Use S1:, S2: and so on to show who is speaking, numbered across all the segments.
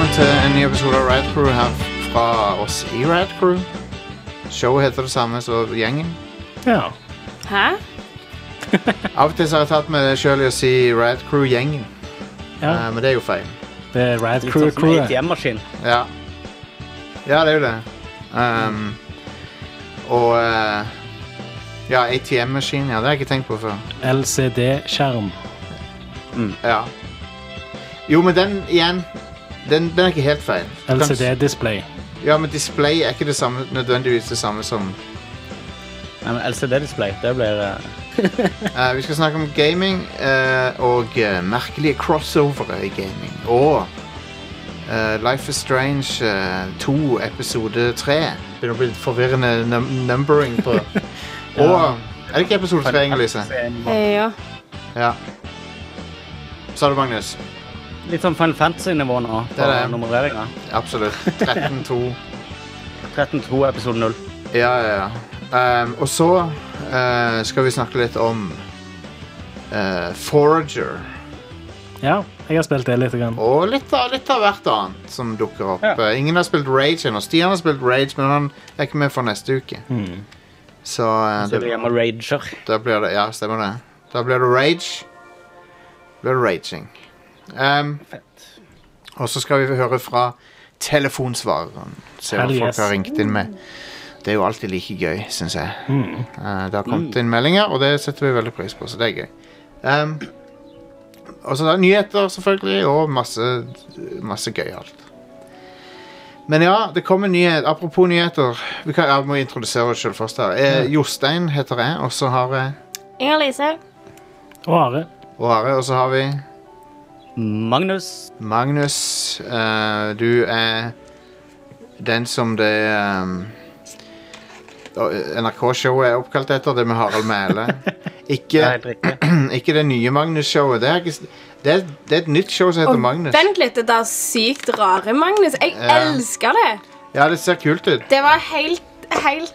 S1: ny episode av Rad Crew her fra oss i Rad Crew. Showet heter det samme som gjengen.
S2: Ja.
S3: Hæ?
S1: Av og til så har jeg tatt meg sjøl i å si Rad Crew-gjengen,
S2: ja.
S1: eh, men det er jo feil.
S2: Det er Rad
S4: Litt
S2: Crew
S4: sånn som
S2: Crew.
S4: ATM-maskin.
S1: Ja. ja, det er jo det. Um, og eh, Ja, ATM-maskin. Ja, det har jeg ikke tenkt på før.
S2: LCD-skjerm.
S1: Ja. Jo, men den igjen Den, den er ikke helt feil. Du kan-
S2: LCD-display.
S1: Ja, men display er ikke det samme, nødvendigvis det samme som
S4: Nei, men LCD-display, det blir eh,
S1: Eh, Vi skal snakke om gaming eh, og eh, merkelige crossovere i gaming. Og eh, Life is Strange eh, 2 episode 3. Begynner å bli litt forvirrende num numbering på Og Er det ikke episode 3, Inger-Lise?
S3: Eh, ja.
S1: Ja. Sa du, Magnus?
S4: Litt sånn Final Fantasy-nivå nå.
S1: Det er det.
S4: Nummereringa.
S1: Absolutt. 13-2.
S4: 13-2, episode 0.
S1: Ja, ja, ja. Ehm, og så eh, skal vi snakke litt om eh, Forager.
S2: Ja, jeg har spilt det litt. Grann.
S1: Og litt av, litt av hvert annet som dukker opp.
S4: Ja.
S1: Eh, Ingen har spilt Rage ennå. Stian har spilt Rage, men han er ikke med for neste uke. Så eh,
S4: Så det
S1: det,
S4: blir med Rager.
S1: da blir det Ja, stemmer det. Da blir det Rage. Da blir det raging. Ehm,
S4: Fett.
S1: og så skal vi høre fra telefonsvareren. Se hva
S2: Hell
S1: folk
S2: yes.
S1: har ringt inn med. Det er jo alltid like gøy, syns jeg. Eh, det har kommet inn meldinger, og det setter vi veldig pris på, så det er gøy. Um, og så er det nyheter, selvfølgelig, og masse, masse gøyalt. Men ja, det kom en nyhet. Apropos nyheter. Vi kan, jeg må introdusere oss selv først. her. Eh, Jostein heter jeg, og så har jeg
S3: Inger-Lise.
S2: Og Are.
S1: og Are, og så har vi
S4: Magnus.
S1: Magnus, eh, du er den som det ehm, NRK-showet er oppkalt etter, det med Harald Mæle.
S4: Det er
S1: Ikke,
S4: helt riktig.
S1: ikke det nye Magnus-showet. Det, er ikke s- det, er- det er et nytt show som heter
S3: Og
S1: Magnus.
S3: vent litt, det der sykt rare Magnus. Jeg
S1: Ja.
S3: elsker det.
S1: Ja, det ser kult ut.
S3: Det var helt, helt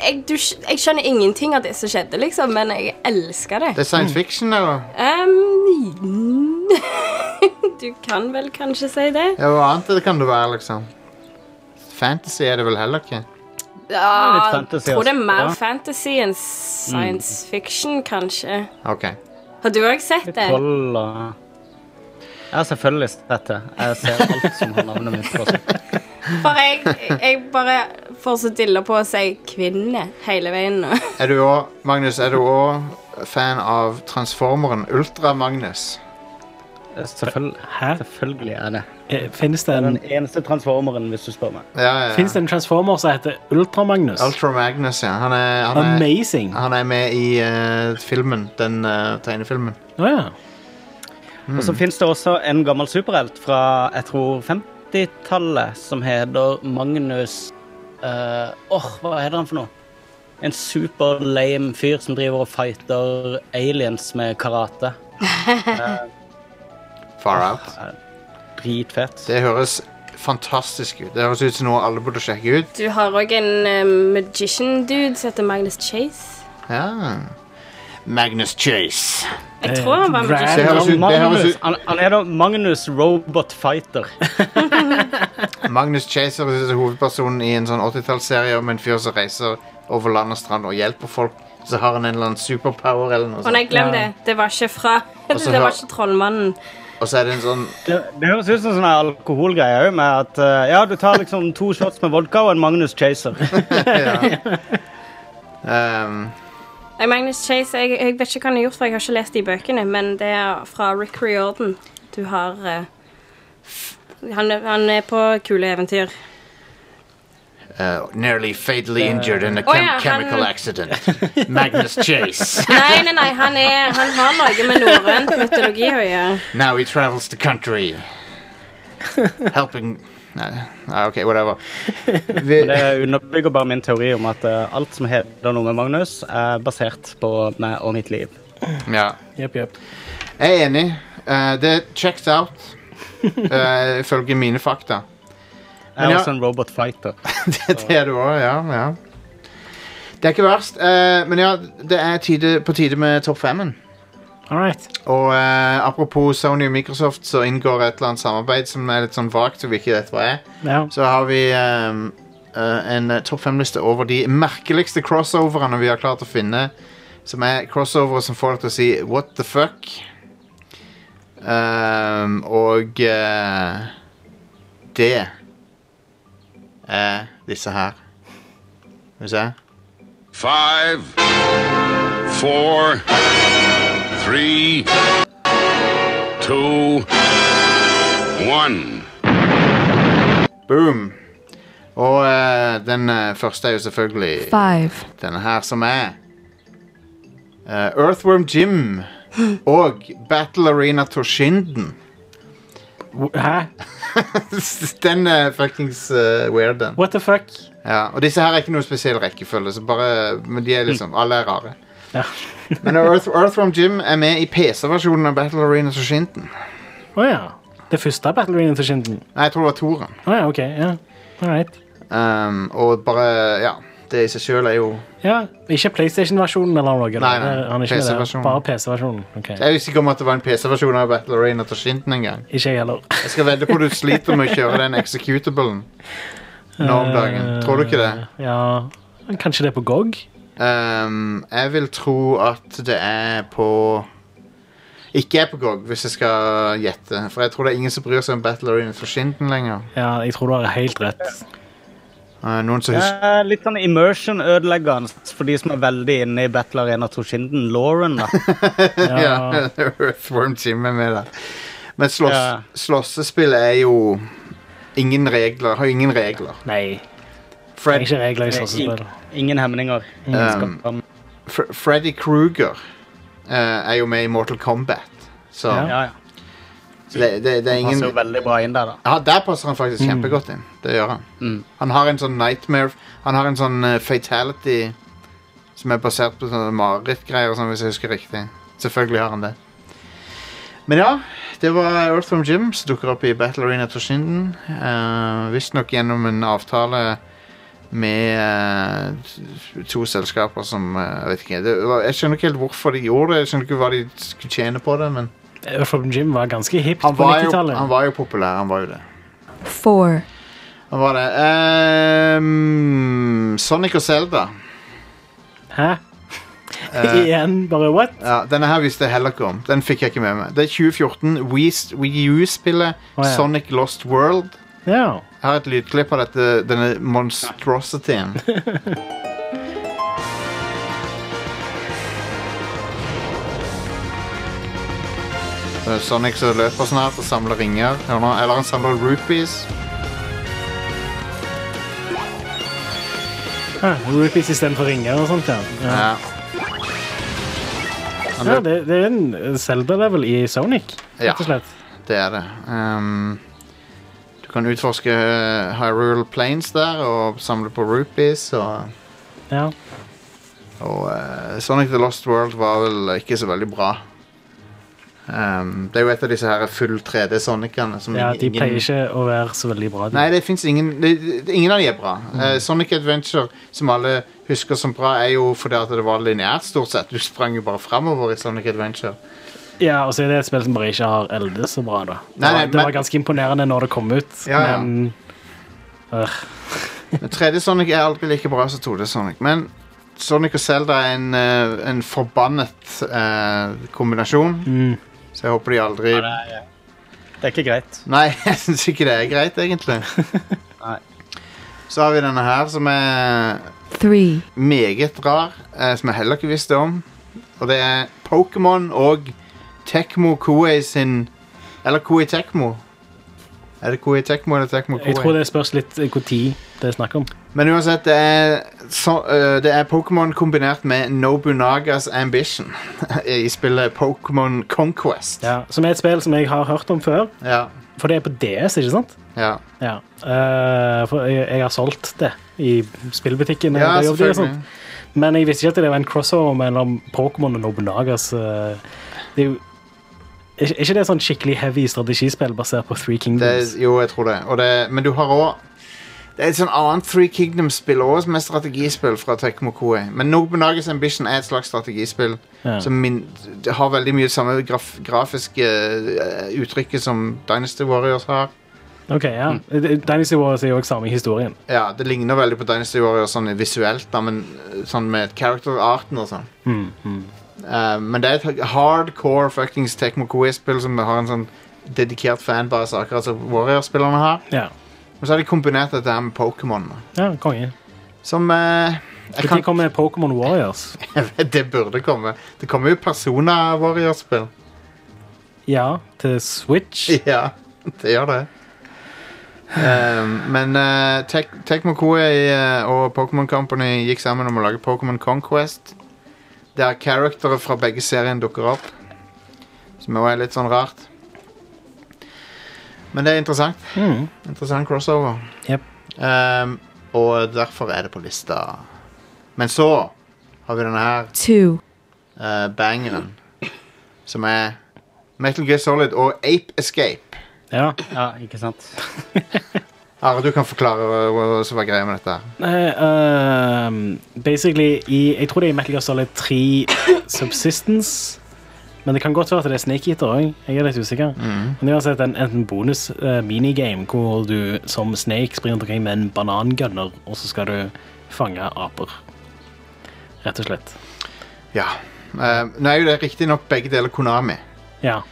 S3: jeg, du, skj- jeg skjønner ingenting av det som skjedde, liksom, men jeg elsker det.
S1: Det er science
S2: Mm.
S1: fiction, eller?
S3: Um, du kan vel kanskje si det?
S1: Ja, hva annet det kan det være, liksom? Fantasy er det vel heller ikke.
S3: Ja,
S4: litt
S3: jeg
S4: fantasy
S3: tror det er
S4: også.
S3: mer
S4: Ja.
S3: fantasy enn science
S1: Mm.
S3: fiction, kanskje.
S1: Ok.
S3: Har du òg sett det?
S4: Troll og Jeg har selvfølgelig sett det. Jeg ser alt som har navnet mitt på seg.
S3: For jeg, jeg bare får så dilla på å si kvinne hele veien nå.
S1: Er du òg, Magnus, er du òg fan av transformeren Ultra-Magnus?
S4: Selvfølgelig,
S2: Hæ?
S4: selvfølgelig er det.
S2: Eh, Finnes det
S4: Det er
S2: en
S4: den eneste transformeren, hvis du spør meg.
S1: Ja, ja.
S2: Fins det en transformer som heter Ultra-Magnus?
S1: Ultra-Magnus, ja. Han er, han er
S2: Amazing. Å
S1: Han er med i eh, filmen, den eh, tegnefilmen.
S2: ja.
S4: Og
S1: Mm.
S4: så fins det også en gammel superhelt fra jeg tror 50-tallet som heter Magnus eh, Åh, hva heter han for noe? En super lame fyr som driver og fighter aliens med karate.
S1: Far Out.
S4: Dritfett.
S1: Det høres fantastisk ut. Det høres ut som noe alle burde sjekke ut.
S3: Du har òg en eh, magician dude som heter Magnus Chase.
S1: Ja. Magnus Chase.
S3: Jeg tror han var
S2: Brad-
S3: magician.
S1: Det høres ut, det høres
S4: Magnus,
S1: ut
S4: han, han er da Magnus Robot Fighter.
S1: Magnus Chase høres ut som hovedpersonen i en sånn 80-tallsserie om en fyr som reiser over land og strand og hjelper folk. Så har han en eller annen superpower eller noe
S3: Å nei,
S1: sånt.
S3: glem det. Det var ikke fra
S1: Og så
S3: Det var
S1: hø-
S3: ikke trollmannen.
S1: Og så er det en sånn
S4: Det, det høres ut som sånn her alkoholgreie òg, med at eh, ja, du tar liksom to shots med vodka og en Magnus Chaser.
S1: ehm,
S3: Nei, Magnus Chase, jeg, jeg vet ikke hva han har gjort, for jeg har ikke lest de bøkene, men det er fra Rick Riordan. Du har eh, han, er- han er på kule eventyr.
S1: eh, Nearly fatally injured in a
S3: Å
S1: chem
S3: ja, han-
S1: chemical accident. Magnus Chase.
S3: Nei, nei, nei, han, er, han har noe med norrøn mytologi å gjøre.
S1: Now he travels the country. Helping Nei, nei, OK, whatever. Vi,
S4: Det underbygger bare min teori om at eh, alt som heter noe med Magnus, er basert på meg og mitt liv.
S1: ja.
S2: Jepp, jepp.
S1: Jeg er enig. Eh, det er checked out, eh, ifølge mine fakta.
S4: Jeg er
S1: Men ja.
S4: også en robot fighter.
S1: Det, det er du òg, ja, ja. Det er ikke verst. eh, men ja, det er tide, på tide med topp femmen.
S2: All right.
S1: Og eh, apropos Sony og Microsoft, så inngår et eller annet samarbeid som er litt sånn vagt, så vi ikke vet hva er.
S2: Ja.
S1: Så har vi ehm, eh, en eh, topp fem-liste over de merkeligste crossoverne vi har klart å finne. Som er crossovere som får deg til å si 'what the fuck'. Ehm, og eh, det er disse her. Skal vi se.
S5: Five, four, three, two, one.
S1: Boom. Og eh, den eh, første er jo selvfølgelig
S6: Five.
S1: denne her som er eh, Earthworm Jim og Battle Arena Toshinden.
S2: W- Hæ?
S1: den er fuckings eh, weird, den.
S2: What the fuck?
S1: Ja, og disse her er ikke noe spesiell rekkefølge, så bare, men de er liksom, alle er rare.
S2: Ja.
S1: Men Earth, Earthworm Jim er med i PC-versjonen av Battle Arena Toshinden.
S2: Å ja. Det første Battle Arena til Shinden.
S1: Nei, jeg tror det var Toren.
S2: Å ja, OK. Ja. All right.
S1: Um, og bare, ja, det i seg selv er jo...
S2: Ja, Ikke PlayStation-versjonen eller noe? eller?
S1: Nei, nei,
S2: Han er ikke med der.
S1: PC-versjonen.
S2: Bare PC-versjonen. ok.
S1: Jeg er usikker om at det var en PC-versjon av Battle Arena Toshinden en gang.
S2: Ikke jeg heller.
S1: Jeg skal vedde på at du sliter med å kjøre den executablen nå om dagen. Tror du ikke det?
S2: Eh, Ja, men Kanskje det er på GOG?
S1: Um, jeg vil tro at det er på Ikke er på GOG, hvis jeg skal gjette. For jeg tror det er ingen som bryr seg om Battle Arena for Shinden lenger.
S2: Ja, jeg tror du har helt rett.
S1: Uh, noen som
S4: Det
S1: husker
S4: er Litt sånn immersion-ødeleggende for de som er veldig inne i Battle Arena Toshinden. Lauren, da.
S1: Ja, Earthworm Jim er med der. Men slåss,
S4: Ja.
S1: slåssespill er jo ingen regler. Har ingen regler.
S2: Nei, det er sånn
S1: Fred, ehm,
S2: ikke regler i sånne
S4: Ing-
S2: spill.
S4: Ingen hemninger. Ingen skal fram.
S1: Fr Freddy Kruger er jo med i Mortal Kombat. Så
S2: Ja.
S4: Ja, ja.
S1: så det, det, det er
S4: Han
S1: ingen
S4: ser jo veldig bra inn der, da.
S1: Ja, der passer han faktisk kjempegodt inn. Det gjør han. Han har en sånn nightmare Han har en sånn eh, fatality som er basert på sånne marerittgreier, og sånn, hvis jeg husker riktig. Selvfølgelig har han det. Men ja, det var Earthworm Jim som dukker opp i Battle Arena Toshinden. Uh, Visstnok gjennom en avtale med eh, to selskaper som eh, Jeg vet ikke, det var, jeg skjønner ikke helt hvorfor de gjorde det. Jeg skjønner ikke hva de skulle tjene på det, men
S2: Earthworm Jim var ganske hipt
S1: han
S2: på
S1: var, jo, han
S2: 90-tallet.
S1: var jo populær. Han var jo det.
S6: Four.
S1: Hva var det? Ehm, Sonic og Zelda.
S2: Hæ?
S1: Eh.
S2: Igjen, bare what?
S1: Ja, denne her visste jeg heller ikke om. Den fikk jeg ikke med meg. Det er 2014. Wii- Wii U-spillet
S2: Å, ja.
S1: Sonic Lost World.
S2: Ja.
S1: Jeg har et lydklipp av dette, denne monstrosityen. Det er Sonic som løper snart og samler ringer. Hør nå. Eller han samler rupees.
S2: Ah, Rupees istedenfor ringer og sånt, ja. ja.
S1: Ja. Han
S2: ja
S1: løper
S2: det, det er en Zelda-level i Sonic,
S1: Ja.
S2: rett og slett.
S1: Det er det. Ehm, du kan utforske eh, Hyrule Plains der og samle på rupees. Og,
S2: Ja.
S1: og eh, Sonic the Lost World var vel ikke så veldig bra. Ehm, det er jo et av disse her full 3D-sonicene. som
S2: ja, de
S1: ingen-
S2: pleier ikke å være så veldig bra. de.
S1: Nei, det finnes ingen det, det, Ingen av de er bra.
S2: Mm.
S1: Eh, Sonic Adventure, som alle husker som bra, er jo fordi at det var lineært, stort sett. Du sprang jo bare framover i Sonic Adventure.
S2: Ja, og så er det et spill som bare ikke har eldes så bra, da. Det,
S1: Nei, nei,
S2: var, det
S1: men-
S2: var ganske imponerende når det kom ut,
S1: Ja, ja.
S2: men
S1: Men 3D-Sonic er aldri like bra som 2D-Sonic. Men Sonic og Zelda er en, eh, en forbannet eh, kombinasjon.
S2: Mm.
S1: Så jeg håper de aldri
S4: Ja, det, er, det er ikke greit.
S1: Nei, jeg syns ikke det er greit, egentlig.
S4: Nei.
S1: Så har vi denne her, som er
S6: Three.
S1: meget rar, eh, som jeg heller ikke visste om. Og det er Pokémon og Tekmo Koei sin Eller Koei Tekmo. Er det Koei Tekmo eller Tekmo Koei?
S2: jeg tror det spørs litt hvor tid det er snakk om.
S1: Men uansett, det er, så, øh, det er Pokémon kombinert med Nobunagas Ambition i spillet Pokémon Conquest.
S2: Ja, som er et spill som jeg har hørt om før,
S1: Ja,
S2: for det er på DS, ikke sant?
S1: ja.
S2: Ja. Eh, for jeg, jeg har solgt det i spillbutikken.
S1: ja
S2: og det jobbet i og sånt.
S1: selvfølgelig.
S2: Men jeg visste ikke at det var en crossover mellom Pokémon og Nobunagas. eh, Det er jo er ikke- er ikke det sånn skikkelig heavy strategispill basert på Three
S1: Det
S2: Kingdoms?
S1: er, jo, jeg tror det. Og det men du har òg Det er et sånn annet Three Kingdoms-spill òg, som er strategispill fra Tekmo Koe. Men Nobunagas Ambition er et slags strategispill
S2: Ja.
S1: som min, det har veldig mye samme graf, grafiske eh, uttrykket som Dynasty Warriors har.
S2: Ok,
S1: Mm.
S2: ja. Dynasty Warriors er jo også samme i historien.
S1: Ja, Det ligner veldig på Dynasty Warriors sånn visuelt, da, men eh, sånn med character-arten og sånn. Eh, men det er et hardcore fuckings Tekmo Koe-spill som har en sånn dedikert fanbase, akkurat som Warriors-spillerne har.
S2: Ja,
S1: Men så har de kombinert dette her med Pokémon. da.
S2: ja konge.
S1: Som eh, jeg
S2: Når
S1: kan,
S2: kommer Pokémon Warriors?
S1: jeg vet, Det burde komme. Det kommer jo Persona Warriors-spill.
S2: Ja, til Switch?
S1: Ja, det gjør det. Ehm, men eh, Tek- Tecmo Koei eh, og Pokémon Company gikk sammen om å lage Pokémon Conquest. Der charactere fra begge seriene dukker opp. Som også er litt sånn rart. Men det er interessant.
S2: Mm.
S1: Interessant crossover.
S2: Jep.
S1: Ehm, og derfor er det på lista. Men så har vi denne her
S6: two,
S1: eh, bangeren. Som er Metal Gear Solid og Ape Escape.
S2: Ja.
S4: Ja, ikke sant?
S1: Are, du kan forklare hva, hva hva som var greia med dette. her.
S2: Nei, ehm, basically, i, jeg tror det er i Metal Gear Solid 3 Subsistence. Men det kan godt være at det er Snake Eater òg. Jeg er litt usikker. Men det er uansett en, en bonus eh, minigame hvor du som Snake springer rundt omkring med en banangunner, og så skal du fange aper. Rett og slett.
S1: Ja. Eh, nå er jo det riktignok begge deler Konami.
S2: Ja.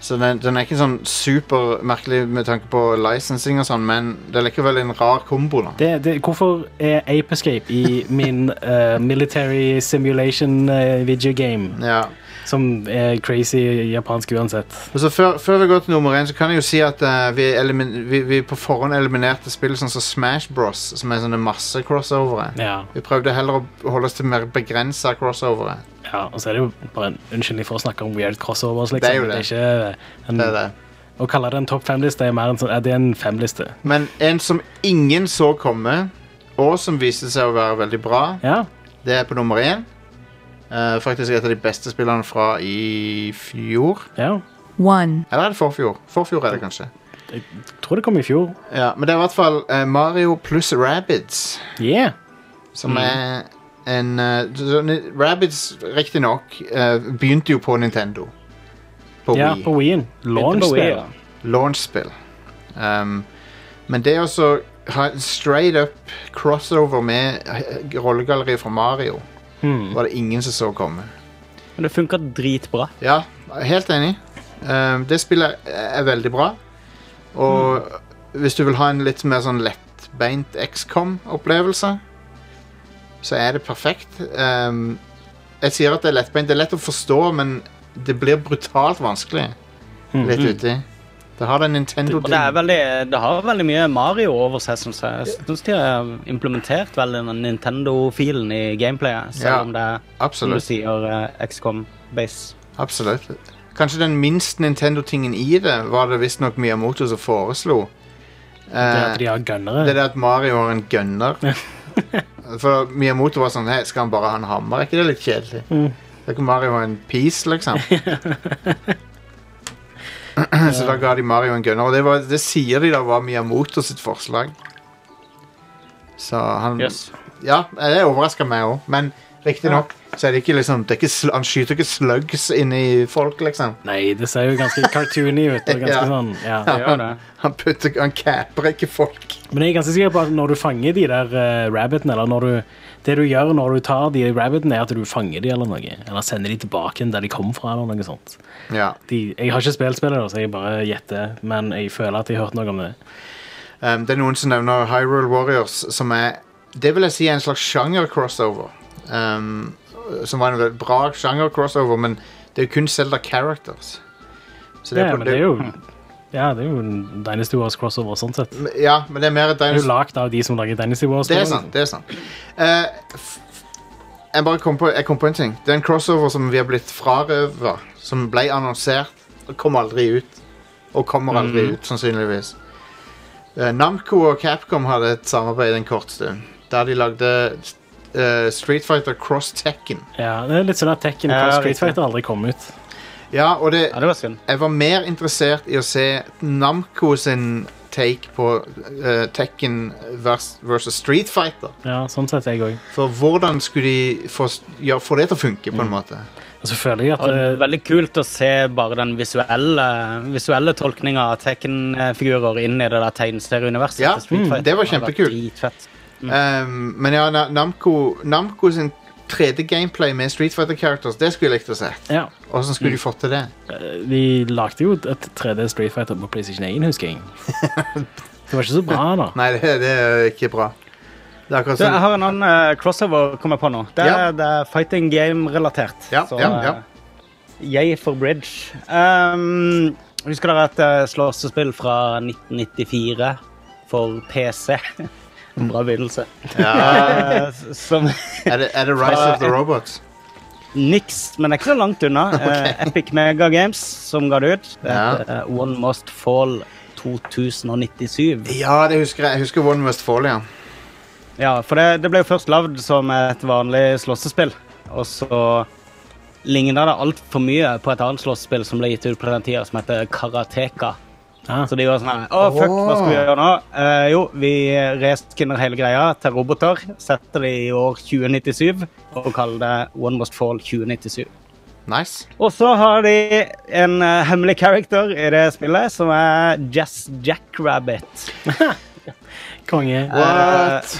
S1: Så den, den er ikke sånn supermerkelig med tanke på licensing og sånn, men det er likevel en rar kombo. da.
S2: Det, det, hvorfor er Ape Escape i min eh, military simulation eh, video game,
S1: Ja.
S2: som er crazy japansk uansett?
S1: Og så før, før vi går til nummer én, så kan jeg jo si at eh, vi, elimin- vi, vi på forhånd eliminerte spill sånn som Smash Bros, som er sånne masse crossovere.
S2: Ja.
S1: Vi prøvde heller å holde oss til mer begrensa crossovere.
S2: Ja, og så er det jo bare en unnskyldning for å snakke om weird crossovers, liksom.
S1: Det er jo det.
S2: ikke en,
S1: Det er det.
S2: Å kalle det en topp fem-liste er mer en sånn, er det er en fem-liste.
S1: Men en som ingen så komme, og som viste seg å være veldig bra,
S2: Ja,
S1: det er på nummer én. Eh, faktisk et av de beste spillene fra i fjor.
S2: ja.
S6: one,
S1: Eller er det forfjor? Forfjor er det kanskje.
S2: Tror det kom i fjor.
S1: Ja, Men det er i hvert fall eh, Mario pluss Rabbids,
S2: Yeah.
S1: som er en uh, Rabbids, riktignok, uh, begynte jo på Nintendo. På
S2: Ja,
S1: Wii.
S2: på Wien.
S4: Wii,
S2: Launch-spill.
S4: ja.
S1: launchspill. Um, men det å så ha en straight up crossover med eh, rollegalleriet fra Mario
S2: Hmm.
S1: var det ingen som så komme.
S4: Men det funker dritbra.
S1: Ja, helt enig. Um, det spillet er veldig bra. Og
S4: Mm.
S1: hvis du vil ha en litt mer sånn lettbeint XCOM-opplevelse, så er det perfekt. Um, jeg sier at det er lettbeint. Det er lett å forstå, men det blir brutalt vanskelig litt uti. Det har den
S4: Mm-hmm. Og det, er
S1: Nintendo-dynamikken.
S4: veldig, det har veldig mye Mario over seg, syns jeg. Jeg synes de har implementert veldig den Nintendo-filen i gameplayet, selv
S1: Ja.
S4: om det er, som du
S1: Absolutt.
S4: sier, eh, XCOM-base.
S1: Absolutt. Kanskje den minst Nintendo-tingen i det var det visstnok Miyamoto som foreslo.
S2: Det er
S1: Eh,
S2: at de har gunnere.
S1: det er det at Mario har en gunner. For Miyamoto var sånn Hei, skal han bare ha en hammer? Er ikke det litt kjedelig? Det er ikke Mario ha en piece, liksom. Så da ga de Mario en gunner, og det, var, det sier de da var Miyamoto sitt forslag. Så han
S4: Yes.
S1: Ja, det overrasker meg òg, men riktignok så er det ikke liksom det er ikke, sl- Han skyter ikke slugs inn i folk, liksom.
S2: Nei, det ser jo ganske cartoony ut. Og ganske
S1: Ja.
S2: sånn, ja.
S4: Det gjør det.
S1: Han putter, han capper ikke folk.
S2: Men jeg er ganske sikker på at når du fanger de der eh, rabbitene, eller når du, det du gjør når du tar de rabbitene, er at du fanger de eller noe. Eller sender de tilbake der de kom fra, eller noe sånt.
S1: Ja.
S2: De, jeg har ikke spilt spillet, da, så jeg bare gjetter, men jeg føler at jeg har hørt noe om det.
S1: Um, det er noen som nevner Hyrule Warriors, som er Det vil jeg si er en slags sjanger-crossover. Um, som var en veldig bra sjanger-crossover, men det er jo kun Zelda Characters. Så
S2: Ja,
S1: på-
S2: men det er jo Ja, det er jo en Dynasty Wars crossover sånn sett. Det
S1: Ja, men det er mer et
S2: er jo
S1: dinosaur...
S2: lagd av de som lager Dynasty Wars.
S1: Det er sant. det er sant Eh, f- Jeg bare kom på, jeg kom på en ting. Det er en crossover som vi har blitt frarøva. Som ble annonsert og kom aldri ut. Og kommer aldri ut, sannsynligvis. Eh, Namco og Capcom hadde et samarbeid en kort stund. Der de lagde eh, Street Fighter Cross Tekken.
S2: Ja, det er litt sånn at Tekken
S4: Ja,
S2: og Street
S4: riktig.
S2: Fighter aldri kom ut.
S1: Ja, og det,
S4: Ja, det var synd.
S1: jeg var mer interessert i å se Namco sin take på eh, Tekken vers, versus Street Fighter.
S2: Ja, sånn sett jeg òg.
S1: For hvordan skulle de få, s- ja, få det til å funke, på en måte?
S2: Og så føler jeg at
S4: Og det er
S2: eh,
S4: veldig kult å se bare den visuelle, visuelle tolkninga av Tekken-figurer inn i det der tegneserieuniverset.
S1: Ja,
S4: til Street
S1: mm,
S4: Fighter.
S1: det var
S4: har vært
S1: kjempekult.
S4: Dritfett.
S1: Um, men ja, Na- Namco, Namco sin 3D-gameplay med Street Fighter Characters, det skulle jeg likt å se.
S2: ja,
S1: Hvordan skulle de fått til det?
S2: eh, de lagde jo et 3D Street Fighter på PlayStation 1, husker jeg. Det var ikke så bra, da.
S1: Nei, det, det er ikke bra. Det er akkurat
S4: Du, jeg
S1: sånn.
S4: har en annen eh, crossover kommer på nå. Det er,
S1: Ja.
S4: det er fighting game-relatert.
S1: Ja,
S4: Så,
S1: ja, ja.
S4: eh, Yay for bridge. Um, husker dere et eh, slåssespill fra 1994 for PC? En Bra begynnelse.
S1: Ja.
S4: Eh, s- som
S1: Er, det, er det Rise of the Robots?
S4: niks, men ikke så langt unna. Eh, Epic Mega Games som ga det ut. Det
S1: Ja.
S4: heter, eh, One Must Fall 2097.
S1: Ja, det husker jeg. Jeg husker One Must Fall, ja.
S4: Ja, for det, det ble jo først lagd som et vanlig slåssespill, og så ligna det altfor mye på et annet slåssespill som ble gitt ut på den tida, som heter Karateka.
S2: Ja.
S4: Så de var sånn her Å, fuck, hva skal vi gjøre nå? Eh, jo, vi reskinner hele greia til roboter, setter det i år 2097 og kaller det One Must Fall 2097.
S1: Nice.
S4: Og så har de en eh, hemmelig character i det spillet, som er Jazz Jackrabbit.
S2: Konge.
S1: What?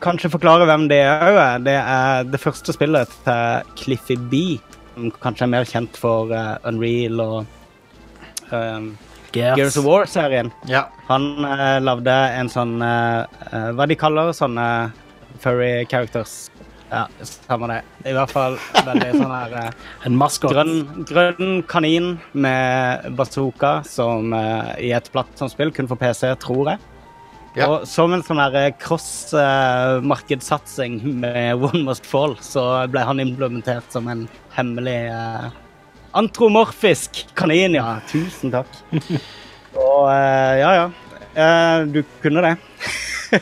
S4: kanskje Eh, forklare hvem det er. også. Det er det første spillet til Cliffy B, som kanskje er mer kjent for eh, Unreal og um, Gears of War-serien.
S1: Ja.
S4: Han uh, lagde en sånn eh, eh, Hva de kaller sånne furry characters. Ja, samme det. I hvert fall veldig sånn her eh,
S2: En maskot.
S4: grønn, grønn kanin med bazooka som eh, i et plattformspill kun for PC, tror jeg.
S1: Ja.
S4: Og som en sånn her cross-markedssatsing eh, med One Must Fall, så ble han implementert som en hemmelig eh, antromorfisk kanin, ja. Tusen takk. Og eh, ja, ja. Eh, du kunne det.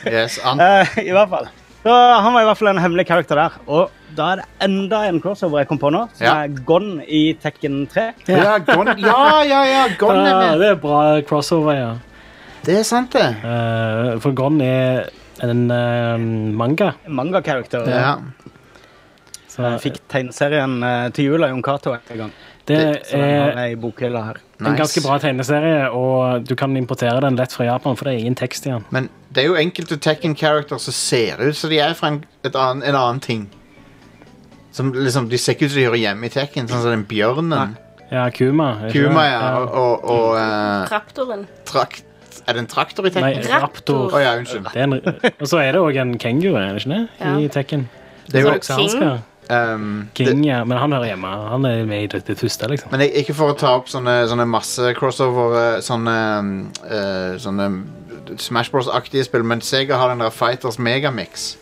S1: Yes, an
S4: Eh, I hvert fall. Så han var i hvert fall en hemmelig karakter der. Og da er det enda en crossover jeg kom på nå, som
S1: Ja.
S4: er Gon i Tekken 3.
S1: ja, Gon ja, ja, ja, Gon
S2: Ja,
S1: er med.
S2: det er bra crossover, ja.
S1: Det er sant, det.
S2: Eh, for Gon er en eh, manga.
S4: Manga-karakter.
S1: Ja.
S2: Så
S4: Jeg fikk tegneserien eh, til jul av Jon Cato en gang.
S2: det
S4: Så den har
S2: er
S4: jeg i bokhylla her.
S2: en
S1: Nice.
S2: ganske bra tegneserie, og du kan importere den lett fra Japan, for det er ingen tekst i den.
S1: Men det er jo enkelte Tekken characters som ser ut som de er fra en, et annen, en annen ting. Som liksom, De ser ikke ut som de hører hjemme i Tekken, sånn som den bjørnen.
S2: Ja, Kuma. er ikke
S1: Kuma,
S2: det?
S1: ja. Og, og, og eh,
S3: Raptoren.
S1: trakt Er det en traktor i
S2: Nei,
S1: Tekken? Å
S2: Raptor.
S1: ja, unnskyld.
S2: Det er en, og så er det òg en kenguru, er det ikke det? I
S3: Ja.
S2: Tekken.
S1: Det er jo
S3: King.
S2: Han skal-
S1: ehm, det,
S2: King, ja. Men han hører hjemme. Han er med i det, det første, liksom.
S1: Men jeg, ikke for å ta opp sånne, sånne masse crossover eh, Sånne, eh, sånne Smash Bros-aktige spill, men Sega har den der Fighters Megamix.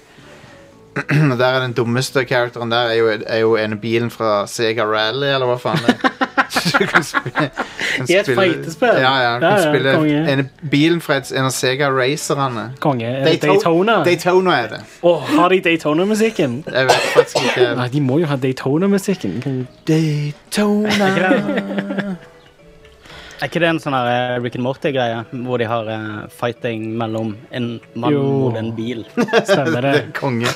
S1: Og der er den dummeste karakteren der er jo, er jo en bilen fra Sega Rally, eller hva faen det er. Så du kan spi- kan
S2: I et
S1: spille-
S2: fighterspill?
S1: Ja, ja. Du
S2: Ja,
S1: kan
S2: ja, konge.
S1: spille en, bilen fra et, en av Sega Racerne.
S2: Konge. Er det
S1: Dayto-
S2: Daytona?
S1: Daytona er det.
S2: Å, har de Daytona-musikken?
S1: Jeg vet faktisk
S2: Nei,
S1: ikke.
S2: de må jo ha Daytona-musikken. Kan-
S1: Daytona
S4: Er ikke det en sånn her eh, Rick and Morty-greie, hvor de har eh, fighting mellom en mann
S2: Jo.
S4: mot en bil?
S2: Stemmer
S1: Det
S2: det.
S1: er konge.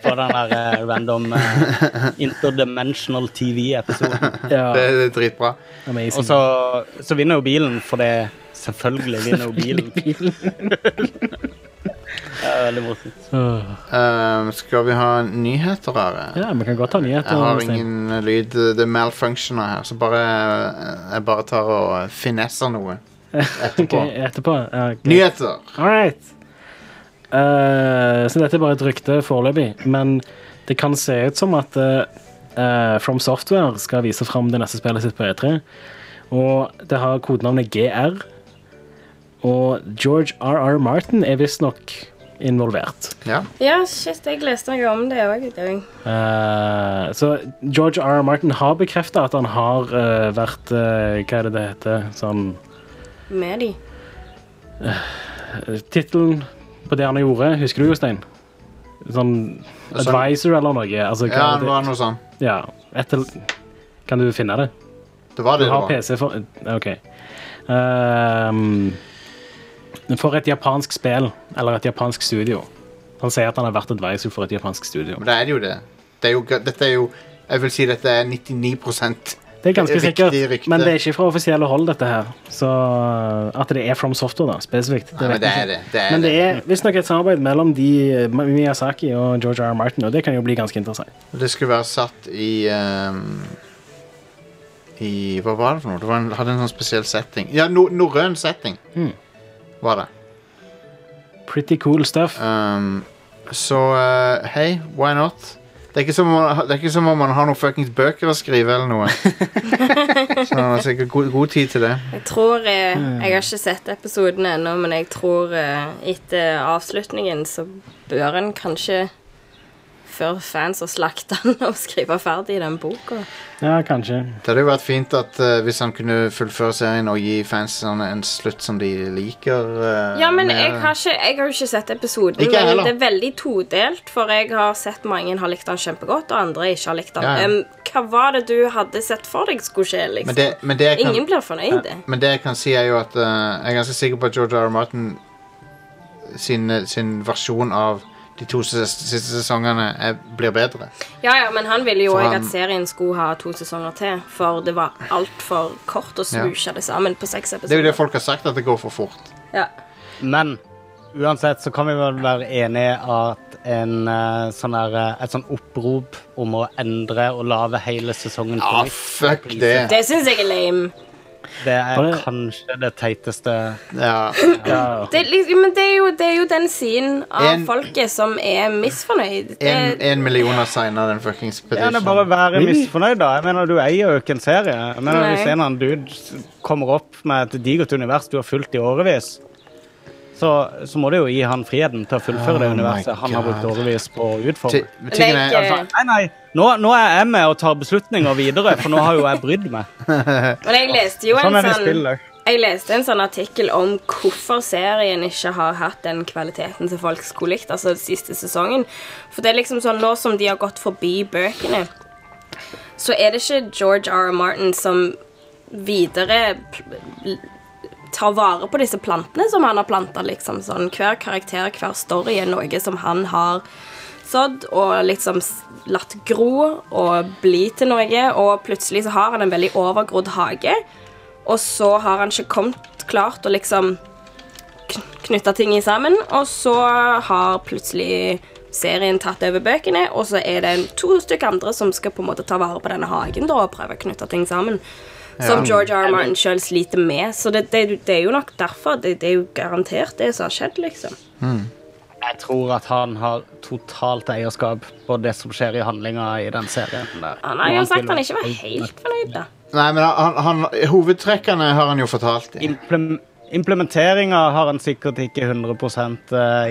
S4: På den der eh, random eh, interdimensional TV-episoden.
S1: Det
S2: Ja,
S1: er, det er dritbra.
S2: amazing.
S4: Og så, så vinner jo bilen, for det selvfølgelig vinner jo bilen. det er veldig morsomt.
S2: Åh.
S1: Ehm, skal vi ha nyheter her?
S2: Ja, vi kan godt ta nyheter.
S1: Jeg har
S2: Stein.
S1: ingen lyd. Det er malfunctioner her, så bare eh, jeg bare tar og finesser noe etterpå.
S2: Ok, etterpå. Ja, ok.
S1: Nyheter!
S2: All right. Eh, så dette er bare et rykte foreløpig, men det kan se ut som at eh, eh, From Software skal vise fram det neste spillet sitt på E3. Og det har kodenavnet GR. Og George RR Martin er visstnok involvert.
S1: Ja.
S3: Ja, shit, jeg leste noe om det òg i dag.
S2: Eh, så George R. R. Martin har bekrefta at han har eh, vært eh, Hva er det det heter? Sånn
S3: Med de.
S2: tittelen på det han gjorde, husker du, Jostein? Sånn advisor eller noe? Altså, hva
S1: ja,
S2: er
S1: det var noe sånn.
S2: det? ja, etter, kan du finne det?
S1: Det var
S2: Du
S1: det det
S2: har
S1: var.
S2: PC for OK. Ehm, For et japansk spill, eller et japansk studio. Han sier at han har vært advisor for et japansk studio.
S1: Men da er det jo det. det er jo, ga- dette er jo Jeg vil si dette er 99
S2: Det er ganske
S1: Riktig
S2: sikkert,
S1: rykte.
S2: men det er ikke fra offisielle hold, dette her. Så eh, at det er From Software, da, spesifikt.
S1: Nei, men
S2: vet
S1: det
S2: jeg
S1: er det. det, er
S2: Men det er visstnok et samarbeid mellom de, eh, Miyazaki og George R. R. Martin, og det kan jo bli ganske interessant.
S1: det. det skulle være satt i ehm, I Hva var det for noe? Det var en, hadde en sånn spesiell setting. Ja, no, norrøn setting
S2: Mm.
S1: var det.
S2: Pretty cool stuff.
S1: Um, så eh, hei, why not? Det er, ikke som om, det er ikke som om man har noen fuckings bøker å skrive eller noe. så han har sikkert god, god tid til det.
S3: Jeg tror eh, Jeg har ikke sett episoden ennå, men jeg tror eh, etter avslutningen så bør en kanskje før fans har slakta den og skrive ferdig den boka.
S2: Ja, kanskje.
S1: Det hadde jo vært fint at eh, hvis han kunne fullføre serien og gi fansene en slutt som de liker. eh,
S3: Ja, men
S1: mer.
S3: jeg har, ikke, jeg har jo ikke sett episoden,
S1: Ikke jeg
S3: men
S1: heller.
S3: det er veldig todelt, for jeg har sett mange har likt den kjempegodt, og andre ikke har likt den.
S1: Ja, ja.
S3: Em, hva var det du hadde sett for deg skulle skje, liksom?
S1: men det, men det jeg kan,
S3: Ingen blir fornøyd.
S1: Men det jeg kan si er jo at eh, Jeg er ganske sikker på at George R. R. Martin sin, eh, sin versjon av de to ses- siste sesongene er, blir bedre.
S3: Ja, ja, men han ville jo
S1: For
S3: òg
S1: han-
S3: at serien skulle ha to sesonger til, for det var altfor kort å smusje det sammen på
S1: Det
S3: seks
S1: er jo
S3: episoder.
S1: det folk har sagt, at det går for fort.
S3: Ja.
S4: Men uansett så kan vi vel være enige at en, eh, sånn her, eh, et sånn opprop om å endre og lage hele sesongen på
S1: Ah,
S4: nytt,
S1: fuck det.
S3: Det syns jeg er lame.
S4: det er
S2: Bare-
S4: kanskje det teiteste
S1: Ja.
S2: Ja.
S3: Det, er liksom- men det er, jo, det er jo den siden av
S1: En-
S3: folket som er misfornøyd. Det,
S1: En, en million har signa den fuckings
S4: Ja, det er
S1: petition.
S4: bare å være
S2: Really?
S4: misfornøyd, da. Jeg mener, Du eier jo ikke en serie. Jeg mener,
S3: Nei.
S4: Hvis en eller annen dude s- kommer opp med et digert univers du har fulgt i årevis, så, så må du jo gi han friheten til å fullføre det
S1: Oh my
S4: universet han har brukt
S1: God.
S4: årevis på å
S1: Ti-
S4: utforme.
S1: tingen er- altså,
S3: Legg, eh,
S4: Nei, nei, nå, nå er jeg med og tar beslutninger videre, for nå har jo jeg brydd meg.
S3: Men jeg leste jo en
S4: Sånn er det i
S3: sånn
S4: spill òg.
S3: Jeg leste en sånn artikkel om hvorfor serien ikke har hatt den kvaliteten som folk skulle likt, altså den siste sesongen. For det er liksom sånn, nå som de har gått forbi bøkene, så er det ikke George R. R. Martin som videre pl- tar vare på disse plantene som han har planta, liksom. Sånn, hver karakter, hver story er noe som han har sådd og liksom s- latt gro og bli til noe, og plutselig så har han en veldig overgrodd hage, og så har han ikke kommet klart å liksom knytte ting i sammen, og så har plutselig serien tatt over bøkene, og så er det en- to stykker andre som skal på en måte ta vare på denne hagen da, og prøve å knytte ting sammen. Som George R. R. Martin sjøl sliter med. Så det, det, det er jo nok derfor. Det, det er jo garantert det som har skjedd, liksom.
S4: Jeg tror at han har totalt eierskap på det som skjer i handlinga i den serien. der.
S3: Ah, Han har jo
S4: Og
S3: sagt
S4: vil-
S3: han ikke var helt fornøyd, da.
S1: Nei, men han, han, hovedtrekkene har han jo fortalt. i.
S4: Implem Implementeringa har han sikkert ikke 100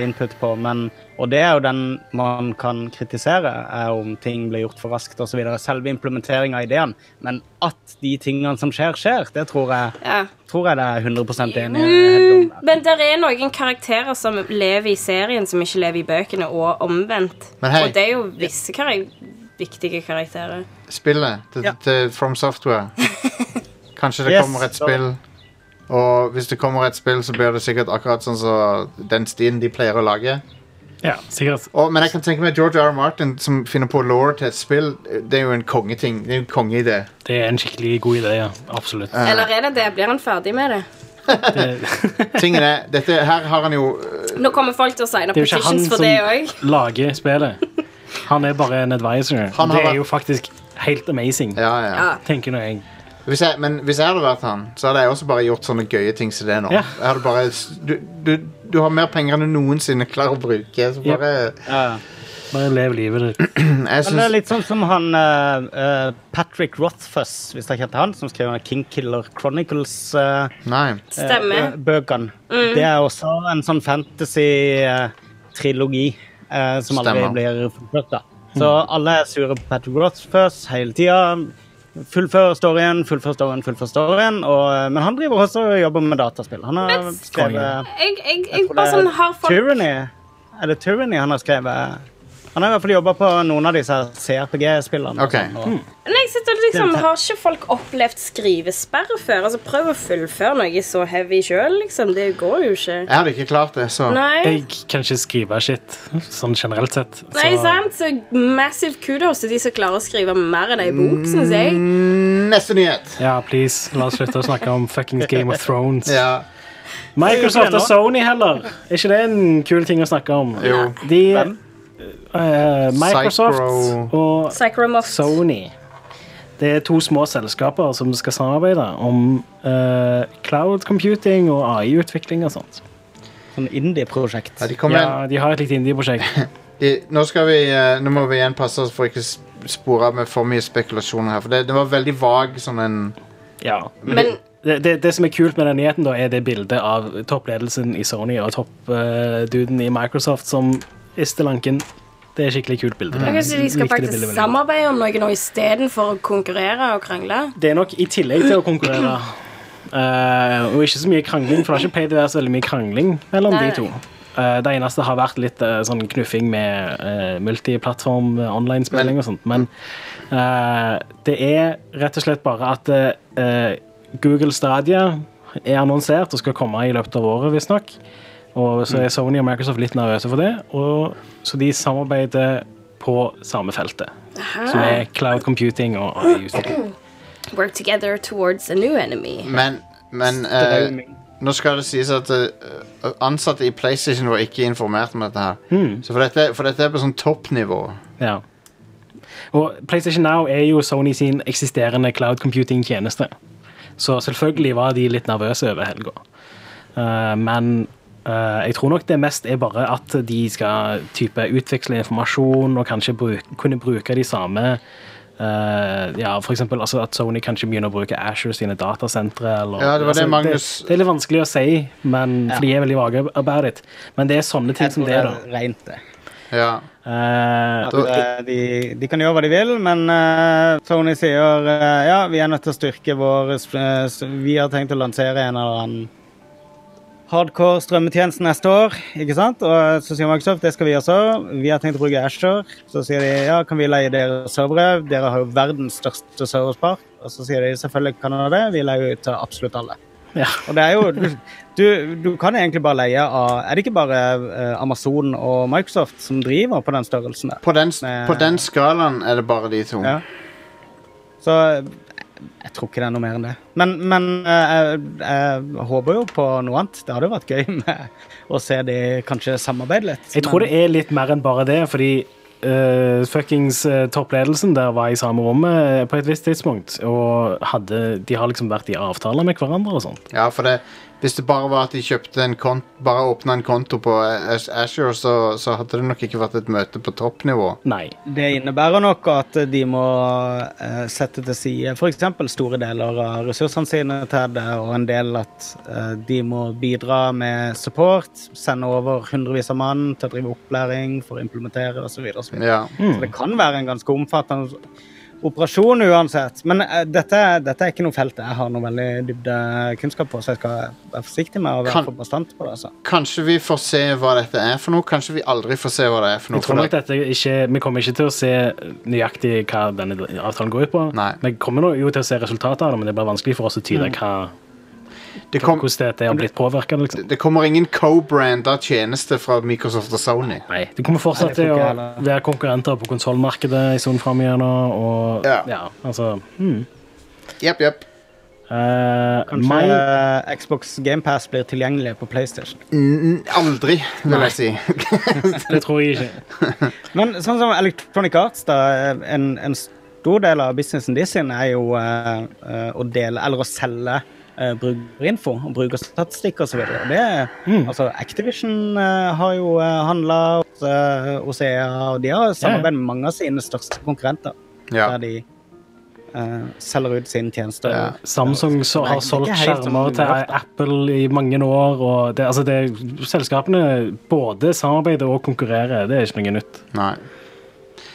S4: input på, men, og det er jo den man kan kritisere, er om ting blir gjort for raskt osv. Selve implementeringa av ideen, men at de tingene som skjer, skjer, det tror jeg,
S3: Ja.
S4: tror jeg det er 100
S2: eh,
S4: enig
S3: Mm,
S4: om.
S3: men det er noen karakterer som lever i serien, som ikke lever i bøkene, og omvendt.
S1: Men hei.
S3: Og det er jo visse karak viktige karakterer.
S1: Spillet til,
S4: Ja.
S1: til From Software. Kanskje det
S4: Yes,
S1: kommer et
S4: så-
S1: spill. Og hvis det kommer et spill, så blir det sikkert akkurat sånn som den stien de pleier å lage.
S2: ja, sikkert.
S1: Og, men jeg kan tenke meg George R. R. Martin som finner på law til et spill. Det er jo en kongeting. Det er jo en kongeidé.
S2: Det er en skikkelig god idé, ja. Absolutt.
S3: Eller er det det? Blir han ferdig med det?
S1: Tingen er, dette her har han jo øh,
S3: Nå kommer folk til å signe
S2: Det er jo ikke han
S3: petitions for det òg.
S2: som lager spillet. Han er bare en advisor.
S1: Han har
S2: Det er
S1: vært-
S2: jo faktisk helt amazing,
S1: Ja, ja.
S3: Ja.
S2: tenker nå jeg.
S1: Hvis jeg, men hvis jeg hadde vært han, så hadde jeg også bare gjort sånne gøye ting som det nå.
S2: Ja.
S1: Jeg hadde bare, s- du, du, du har mer penger enn du noensinne klarer å bruke. Så
S2: Yep.
S1: bare, mm,
S4: Ja.
S2: Bare lev livet ditt.
S1: jeg
S4: Men det er
S1: synes,
S4: litt sånn som han eh, eh, Patrick Rothfuss, hvis dere kjente han, som skrev King Killer Chronicles. eh,
S1: nei.
S3: Stemmer. Mm.
S4: eh, bø- Bøkene. Det er også en sånn fantasy-trilogi eh, som aldri
S1: Stemmer.
S4: blir fullført. da. Så alle er sure på Patrick Rothfuss hele tida. Fullfør storyen, fullfør storyen, fullfør storyen. Og, eh, men han driver også og jobber med dataspill. Han har
S3: Men-
S4: skrevet
S3: Jeg, jeg, jeg
S4: jeg tror
S3: bare
S4: det
S3: sånn
S4: er
S3: har folk
S4: Tyranny. Er det Tyranny han har skrevet? Han har i hvert fall jobba på noen av disse CRPG-spillene.
S1: Ok.
S4: og sånn, og-
S3: Nei, jeg sitter og liksom,
S4: Det er jo
S3: Har ikke folk opplevd skrivesperre før? Altså, Prøv å fullføre noe så heavy sjøl, liksom. Det går jo ikke.
S1: Jeg hadde ikke klart det, så
S3: Nei.
S2: Jeg kan ikke skrive shit, sånn generelt sett. Så-
S3: Nei, sant? Så massive kudos til de som klarer å skrive mer enn ei
S2: Mm.
S3: bok, syns jeg.
S1: Neste nyhet.
S2: Ja, please, la oss slutte å snakke om fuckings Game of Thrones.
S1: Ja.
S2: Microsoft og Sony heller. Er ikke det en kul ting å snakke om?
S1: Jo.
S2: De, eh, Microsoft
S1: Psychro-
S2: og
S3: Psychromoft.
S2: Sony. Det er to små selskaper som skal samarbeide om eh, cloud computing og AI-utvikling og sånt.
S4: Sånn indie-prosjekt.
S1: Ja, de kom med en-
S2: Ja, de har et lite indie-prosjekt.
S1: de, nå, skal vi, eh, nå må vi igjen passe oss for ikke s- spore av med for mye spekulasjoner her. For det, det var veldig vag sånn en
S2: Ja.
S3: Men
S2: Det, det, det som er kult med den nyheten, da, er det bildet av toppledelsen i Sony og toppduden i Microsoft som rister lanken. Det er et skikkelig kult bilde.
S3: jeg synes de skal
S2: Likte det
S3: faktisk
S2: bildet veldig godt.
S3: samarbeide om noe nå istedenfor å konkurrere og krangle.
S2: Det er nok i tillegg til å konkurrere. eh, og ikke så mye krangling, for det har ikke pleid å være så veldig mye krangling mellom
S3: Nei,
S2: de
S3: nei.
S2: to. Eh, det eneste har vært litt eh, sånn knuffing med eh, multiplattform, eh, online-spilling og sånt, men eh, det er rett og slett bare at eh, Google Stadia er annonsert og skal komme i løpet av året, visstnok. Og så er Sony og Microsoft litt nervøse for det, og, så de samarbeider på samme feltet. Som er cloud computing og AI-utvikling.
S3: Work together towards a new enemy.
S1: Men, men eh, nå skal det sies at eh, ansatte i PlayStation var ikke informert om dette her. Så for dette, for dette er på sånn toppnivå.
S2: Ja. Og PlayStation Now er jo Sony sin eksisterende cloud computing-tjeneste. Så selvfølgelig var de litt nervøse over helga. Eh, men eh, jeg tror nok det mest er bare at de skal type utveksle informasjon og kanskje bruk, kunne bruke de samme eh, ja, for eksempel altså at Sony kanskje begynner å bruke Ashore sine datasentre. Eller,
S1: Ja, det var det
S2: altså,
S1: Magnus-
S2: det, det er litt vanskelig å si, men, for de er veldig vage about it. Men det er sånne ting
S4: Jeg
S2: som
S4: tror det
S2: det,
S4: er
S2: da.
S4: rent, det.
S1: Ja.
S2: Eh,
S4: At, eh, de, de kan gjøre hva de vil, men eh, Sony sier eh, ja, vi er nødt til å styrke vår eh, s- Vi har tenkt å lansere en eller annen hardcore strømmetjeneste neste år. ikke sant? Og så sier Microsoft det skal vi også. Vi har tenkt å bruke Ashore. Så sier de ja, kan vi leie dere servere? Dere har jo verdens største serverspark. Og så sier de selvfølgelig kan dere det, vi leier ut til absolutt alle.
S2: ja.
S4: Og det er jo, du, du, du kan egentlig bare leie av Er det ikke bare eh, Amazon og Microsoft som driver på den størrelsen der?
S1: På, den, s-
S4: Med-
S1: på den skalaen er det bare de to.
S4: eh, Ja. Så jeg, jeg tror ikke det er noe mer enn det. Men, men eh, jeg, jeg håper jo på noe annet. Det hadde jo vært gøy med å se de kanskje samarbeide litt.
S2: Jeg tror det er litt mer enn bare det, fordi eh, fuckings eh, toppledelsen der var i samme rommet eh, på et visst tidspunkt, og hadde, de har liksom vært i avtaler med hverandre og sånt.
S1: Ja, for det, hvis det bare var at de kjøpte en kont bare åpna en konto på Ash- Azure, så, så hadde det nok ikke vært et møte på toppnivå.
S2: Nei.
S4: Det innebærer nok at de må eh, sette til side f.eks. store deler av ressursene sine til det, og en del at eh, de må bidra med support, sende over hundrevis av mann til å drive opplæring for å implementere osv. Så, videre.
S1: Ja.
S4: så det kan være en ganske omfattende operasjon uansett. Men eh, dette, dette er ikke noe felt jeg har noe veldig dybde kunnskap på, så jeg skal være forsiktig med å være
S1: Kan-
S4: for bastant på det. altså.
S1: Kanskje vi får se hva dette er for noe. Kanskje vi aldri får se hva det er for noe.
S2: Jeg tror
S1: for
S2: nok dette ikke, Vi kommer ikke til å se nøyaktig hva denne avtalen går ut på.
S1: Nei.
S2: Vi kommer nå jo til å se resultatet av det, men det blir vanskelig for oss å tyde hva,
S1: det, det, kom,
S2: hvordan dette har blitt påvirka. Liksom.
S1: det kommer ingen co-branda tjeneste fra Microsoft og Sony.
S2: Nei, Det kommer fortsatt
S4: Nei, det
S2: til
S4: får
S2: å
S4: ikke heller.
S2: være konkurrenter på konsollmarkedet en stund framover. Og
S1: Ja.
S2: ja, altså
S1: Jepp, jepp.
S2: eh,
S4: Kanskje
S2: mai-
S4: eh, Xbox GamePass blir tilgjengelig på PlayStation.
S1: N- Aldri, vil jeg si.
S2: Det tror jeg ikke.
S4: Men sånn som Electronic Arts, da, en, en stor del av businessen de sin er jo eh, eh, å dele, eller å selge eh, brukerinfo og brukerstatistikk og så videre. Det, altså, Activision eh, har jo uh, handla hos eh, Osea, og de har samarbeid med mange av sine største konkurrenter,
S1: Ja.
S4: der de eh, selger ut sine tjenester.
S1: Ja.
S2: Eh, Samsung så
S4: Nei,
S2: har
S4: det er
S2: solgt
S4: ikke helt
S2: skjermer
S4: sånn
S2: til
S4: rart, da.
S2: Apple i mange år. Og det, altså det, selskapene både samarbeider og konkurrerer. Det er ikke noe nytt.
S1: Nei.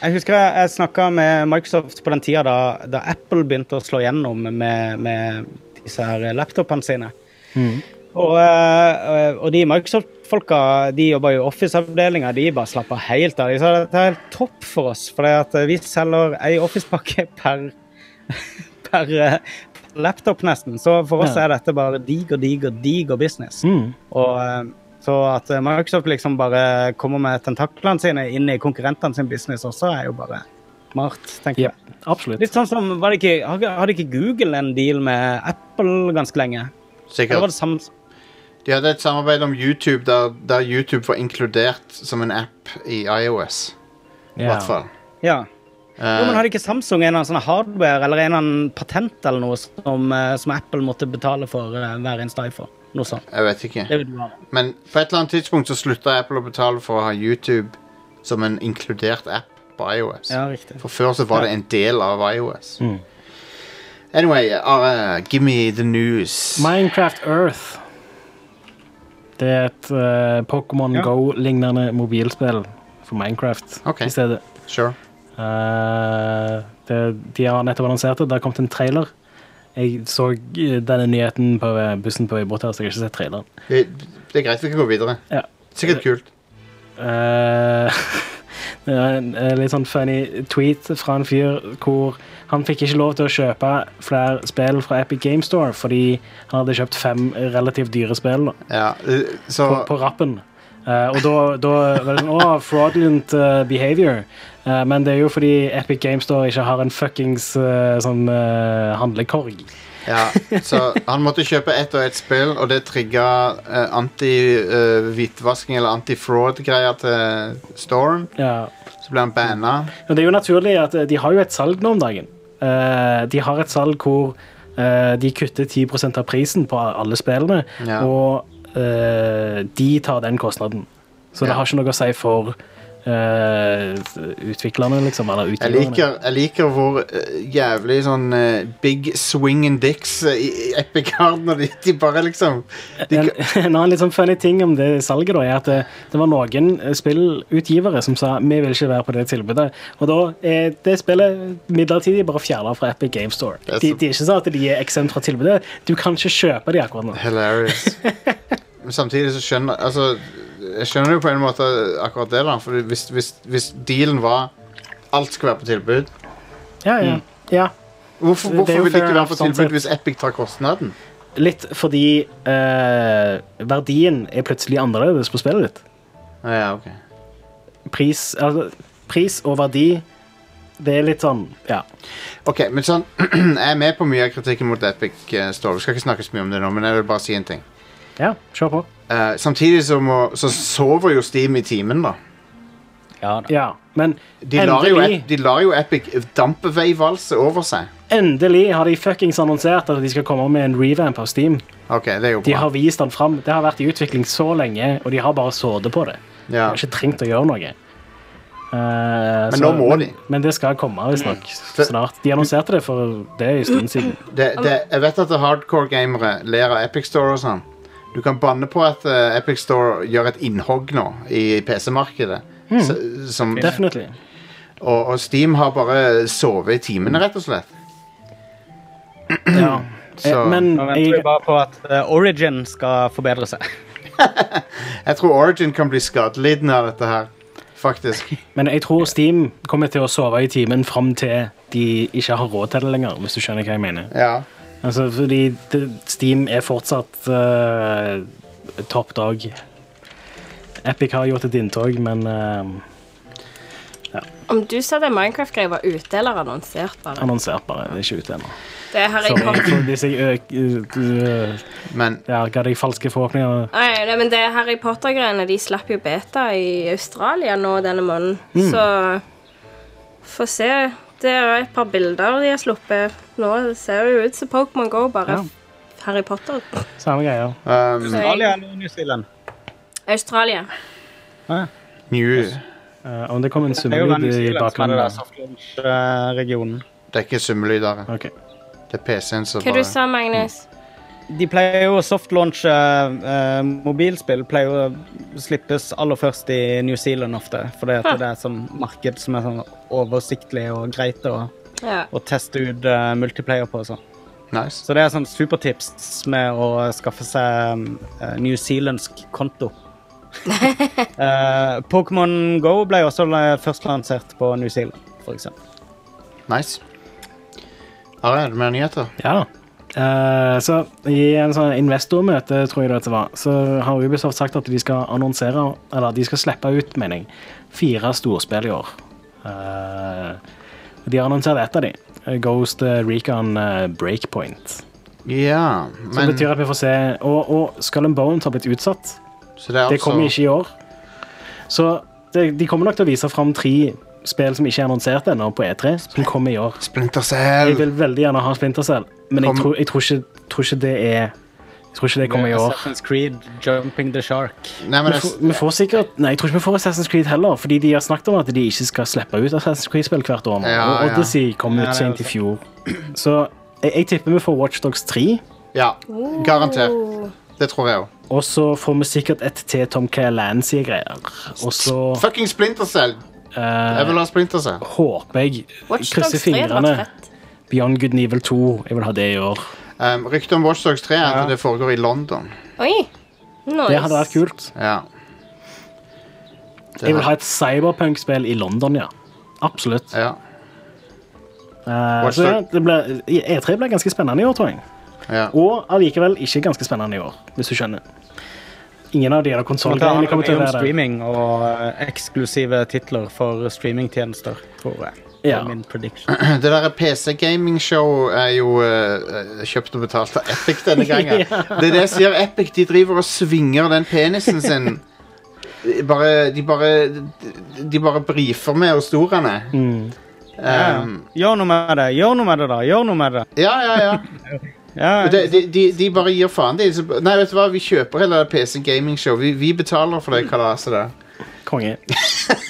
S4: Jeg husker jeg, jeg snakka med Microsoft på den tida da, da Apple begynte å slå gjennom med, med disse her laptopene sine. Og, eh, og de Microsoft-folka de jobber jo i Office-avdelinga. De bare slapper helt av. De sa dette er helt topp for oss, for vi selger ei Office-pakke per per eh, laptop, nesten. Så for oss
S2: Ja.
S4: er dette bare diger, diger, diger business.
S2: Mm.
S4: Og eh, så at eh, Microsoft liksom bare kommer med tentaklene sine inn i konkurrentene sin business også, er jo bare smart, tenker
S2: Ja,
S4: jeg.
S2: absolutt.
S4: Litt sånn som, var det ikke, har- Hadde ikke Google en deal med Apple ganske lenge? Eller var
S1: Sikkert.
S4: det samme
S1: De hadde et samarbeid om YouTube der, der YouTube var inkludert som en app i iOS. I
S2: Ja.
S1: hvert fall.
S4: Ja.
S1: Eh,
S4: Jo, men hadde ikke Samsung en eller annen sånn hardware eller en eller annen patent eller noe som, eh, som Apple måtte betale for eh, hver eneste iPhone? Noe sånt.
S1: jeg vet ikke.
S4: Det vil du ha.
S1: Men på et eller annet tidspunkt så slutta Apple å betale for å ha YouTube som en inkludert app på iOS.
S4: Ja, riktig.
S1: For før så var det en del av iOS.
S2: Mm.
S1: Anyway, Are, give me the news.
S2: Minecraft Earth. Det er et eh, Pokémon
S4: Ja.
S2: Go-lignende mobilspill for Minecraft
S1: Ok.
S2: i stedet.
S1: Sure.
S2: Eh, det, de har nettopp annonsert det. Det har kommet en trailer. Jeg så eh, denne nyheten på eh, bussen på vei bort her, så jeg har ikke sett traileren.
S1: Det, det er greit, vi kan gå videre.
S2: Ja.
S1: Sikkert kult.
S2: Eh, det er en eh, litt sånn funny tweet fra en fyr hvor han fikk ikke lov til å kjøpe flere spill fra Epic Game Store fordi han hadde kjøpt fem relativt dyre spill. Da.
S1: Ja, eh, så
S2: på, på rappen. Eh, og da, da var det sånn Å, fraudulent eh, behavior. Eh, men det er jo fordi Epic Games Store ikke har en fuckings eh, sånn eh, handlekorg.
S1: ja, så han måtte kjøpe ett og ett spill, og det eh, trigga anti-hvitvasking eh, eller anti-fraud-greier til Storm.
S2: Ja.
S1: Så ble han banna.
S2: Og det er jo naturlig at eh, de har jo et salg nå om dagen. Eh, de har et salg hvor eh, de kutter 10 av prisen på alle spillene,
S1: Ja.
S2: og eh, de tar den kostnaden. Så
S1: Ja.
S2: det har ikke noe å si for eh, utviklerne, liksom, eller
S1: Jeg
S2: utgiverne.
S1: liker, jeg liker hvor eh, jævlig sånn eh, big swing and dicks eh, i i Epic Hard når de, de bare liksom de,
S2: en, en annen litt sånn funny ting om det salget da, er at det, det var noen eh, spillutgivere som sa vi vil ikke være på det tilbudet. Og da er det spillet midlertidig bare fjernet fra Epic Game Store.
S1: er så-
S2: De, de er ikke sånn at de er eksemt fra tilbudet. Du kan ikke kjøpe de akkurat nå.
S1: Hilarious. Men samtidig så skjønner altså, Jeg skjønner jo på en måte akkurat det, da. For hvis, hvis, hvis dealen var alt skal være på tilbud
S2: Ja, ja.
S1: Mm.
S2: ja.
S1: Hvorfor,
S2: Det er
S1: hvorfor
S2: jo
S1: vil det
S2: fair
S1: ikke være på
S2: sånn
S1: tilbud
S2: sett.
S1: hvis Epic tar kostnaden?
S2: Litt fordi eh, verdien er plutselig annerledes på spillet ditt.
S1: Ah, ja, ok.
S2: Pris, altså, pris og verdi, det er litt sånn, ja.
S1: Ok, men sånn Jeg er med på mye av kritikken mot Epic eh, Store. Vi skal ikke snakke så mye om det nå, men jeg vil bare si en ting.
S2: Ja, kjør på.
S1: Eh, samtidig så, må, så sover jo Steam i timen, da.
S4: Ja da.
S2: Ja, men
S1: De lar, jo, Ep- de lar jo Epic dampeveivalse over seg.
S2: Endelig har de fuckings annonsert at de skal komme med en revamp av Steam.
S1: Ok, det er jo
S2: De
S1: bra.
S2: har vist den fram. Det har vært i utvikling så lenge, og de har bare sådd på det. De
S1: Ja.
S2: har ikke trengt å gjøre noe. Eh,
S1: Men
S2: så-
S1: nå må de. Mm.
S2: Men det skal komme visstnok snart. De annonserte det for det er en stund siden.
S1: det, det, jeg vet at hardcore gamere ler av Epic Store og sånn. Du kan banne på at eh, Epic Store gjør et innhogg nå i PC-markedet.
S2: Hmm.
S1: S- som-
S2: Definitely.
S1: Og, og Steam har bare sovet i timene, rett og slett.
S2: Ja.
S1: Så-
S2: Eh, Men
S4: Nå venter vi
S2: jeg,
S4: bare på at eh, Origin skal forbedre seg.
S1: Jeg tror Origin kan bli skadelidende av dette her, faktisk.
S2: men jeg tror Steam kommer til å sove i timen fram til de ikke har råd til det lenger, hvis du skjønner hva jeg mener.
S1: Ja.
S2: Altså, fordi det, Steam er fortsatt uh, topp dog. Epic har gjort et inntog, men eh,
S3: Om du sa det Minecraft-greia var ute eller annonsert, bare.
S2: annonsert bare. Det er ikke ute ennå.
S3: Det har jeg
S2: Sorry
S3: fått
S2: for hvis jeg øk, øh,
S1: Men
S2: ja, ga deg falske forhåpninger.
S3: Nei, nei, men det Harry Potter-greiene De slapp jo beta i Australia nå denne måneden.
S2: Mm.
S3: Så få se. Det er et par bilder de har sluppet nå. Det ser jo ut som Pokémon Go, bare
S2: Ja.
S3: Harry Potter.
S2: Samme greia.
S1: um,
S3: Så jeg,
S4: Australia eller New Zealand?
S3: Australia.
S1: New
S2: Eh, om det kom en
S4: Det er jo bare
S2: summelyd
S4: New
S2: i
S4: Zealand som er
S2: bakgrunnen
S4: det altså.
S2: da.
S4: der soft eh, launch-regionen.
S1: Det er ikke summelyder.
S2: Ok.
S1: Det er PC-en som
S3: Hva du
S1: bare
S3: sa Magnus?
S4: De pleier jo å softlaunche eh, mobilspill pleier jo å slippes aller først i New Zealand ofte. For det er et sånn marked som er sånn oversiktlig og greit å,
S2: Mm.
S3: Ja.
S4: å teste ut eh, multiplayer på. og sånn.
S1: Nice.
S4: Så det er sånn supertips med å skaffe seg eh, New Zealandsk konto. Eh, Pokémon Go ble også eh, først lansert på New Zealand, for eksempel.
S1: nice. Are, er det mer nyheter?
S2: Ja da. Eh, så I en sånn investormøte tror jeg det dette var, så har Ubisoft sagt at de skal annonsere Eller de skal slippe ut, mener jeg, fire storspill i år. Eh, de har annonsert ett av dem. Ghost eh, Recon eh, Breakpoint.
S1: Ja,
S2: Som
S1: men
S2: betyr at vi får se Og, og Skull and Bones har blitt utsatt.
S1: så det er altså-
S2: Det kommer ikke i år. Så det, de kommer nok til å vise fram tre spill som ikke er annonsert ennå, på E3, som kommer i år.
S1: Splinter
S2: Jeg
S1: Cell.
S2: vil veldig gjerne ha Splinter Cell, men jeg
S1: Kom-
S2: tror, jeg tror, ikke, tror ikke det er Jeg tror ikke det kommer i år.
S4: Assassin's Creed, Jumping the Shark.
S1: Nei, men
S2: Vi
S1: det,
S2: får, vi får sikkert, nei, Jeg tror ikke vi får Assassin's Creed heller, fordi de har snakket om at de ikke skal slippe ut Assassin's Creed-spill hvert år. nå,
S1: Ja,
S2: og
S1: ja.
S2: Odyssey kom
S4: Ja,
S2: ut
S4: det er
S2: sent i
S4: sant.
S2: fjor. Så jeg, jeg tipper vi får Watchdogs 3,
S1: ja, garantert. Det tror jeg òg.
S2: og så får vi sikkert et til Tom Calancy-greier. Og så
S1: Fucking Splinter Cell!
S2: Eh.
S1: Jeg vil ha Splinter Cell.
S2: håper jeg
S3: Watch Dogs 3
S2: krysser
S3: hadde vært
S2: fingrene.
S3: fett.
S2: Beyond Good and Evil 2. Jeg vil ha det i år.
S1: Um, Ryktet om Watch Dogs 3 er at det foregår i London.
S3: Oi. Nice.
S2: Det hadde vært kult.
S1: Ja. Det
S2: Jeg vil
S1: er-
S2: ha et cyberpunk-spill i London, ja. Absolutt.
S1: ja.
S2: Eh,
S1: Watch
S2: så ja,
S1: Dogs.
S2: det ble, E3 ble ganske spennende i år, tror jeg.
S1: Ja.
S2: Og allikevel ikke ganske spennende i år, hvis du skjønner. Ingen av de der
S4: Det
S2: konsollgreiene
S4: handler
S2: kommer til
S4: mye
S2: å
S4: om
S2: være det.
S4: streaming og eh, eksklusive titler for streamingtjenester, tror jeg. Det
S2: Ja.
S4: er Min prediction.
S1: Det der PC-gaming-show er jo eh, kjøpt og betalt av Epic denne gangen. Det er det jeg sier. Epic de driver og svinger den penisen sin. De Bare, de bare De bare brifer med hvor stor han er.
S2: Mm,
S4: Ja.
S1: Um,
S4: Eh, Gjør noe med det, gjør noe med det, da. Gjør noe med det.
S1: ja, ja, ja.
S4: Ja,
S1: De, de, de, de bare gir faen. De, så- nei, vet du hva, vi kjøper hele det PC-gaming-show. Vi, vi betaler for det kalaset der.
S2: Konge.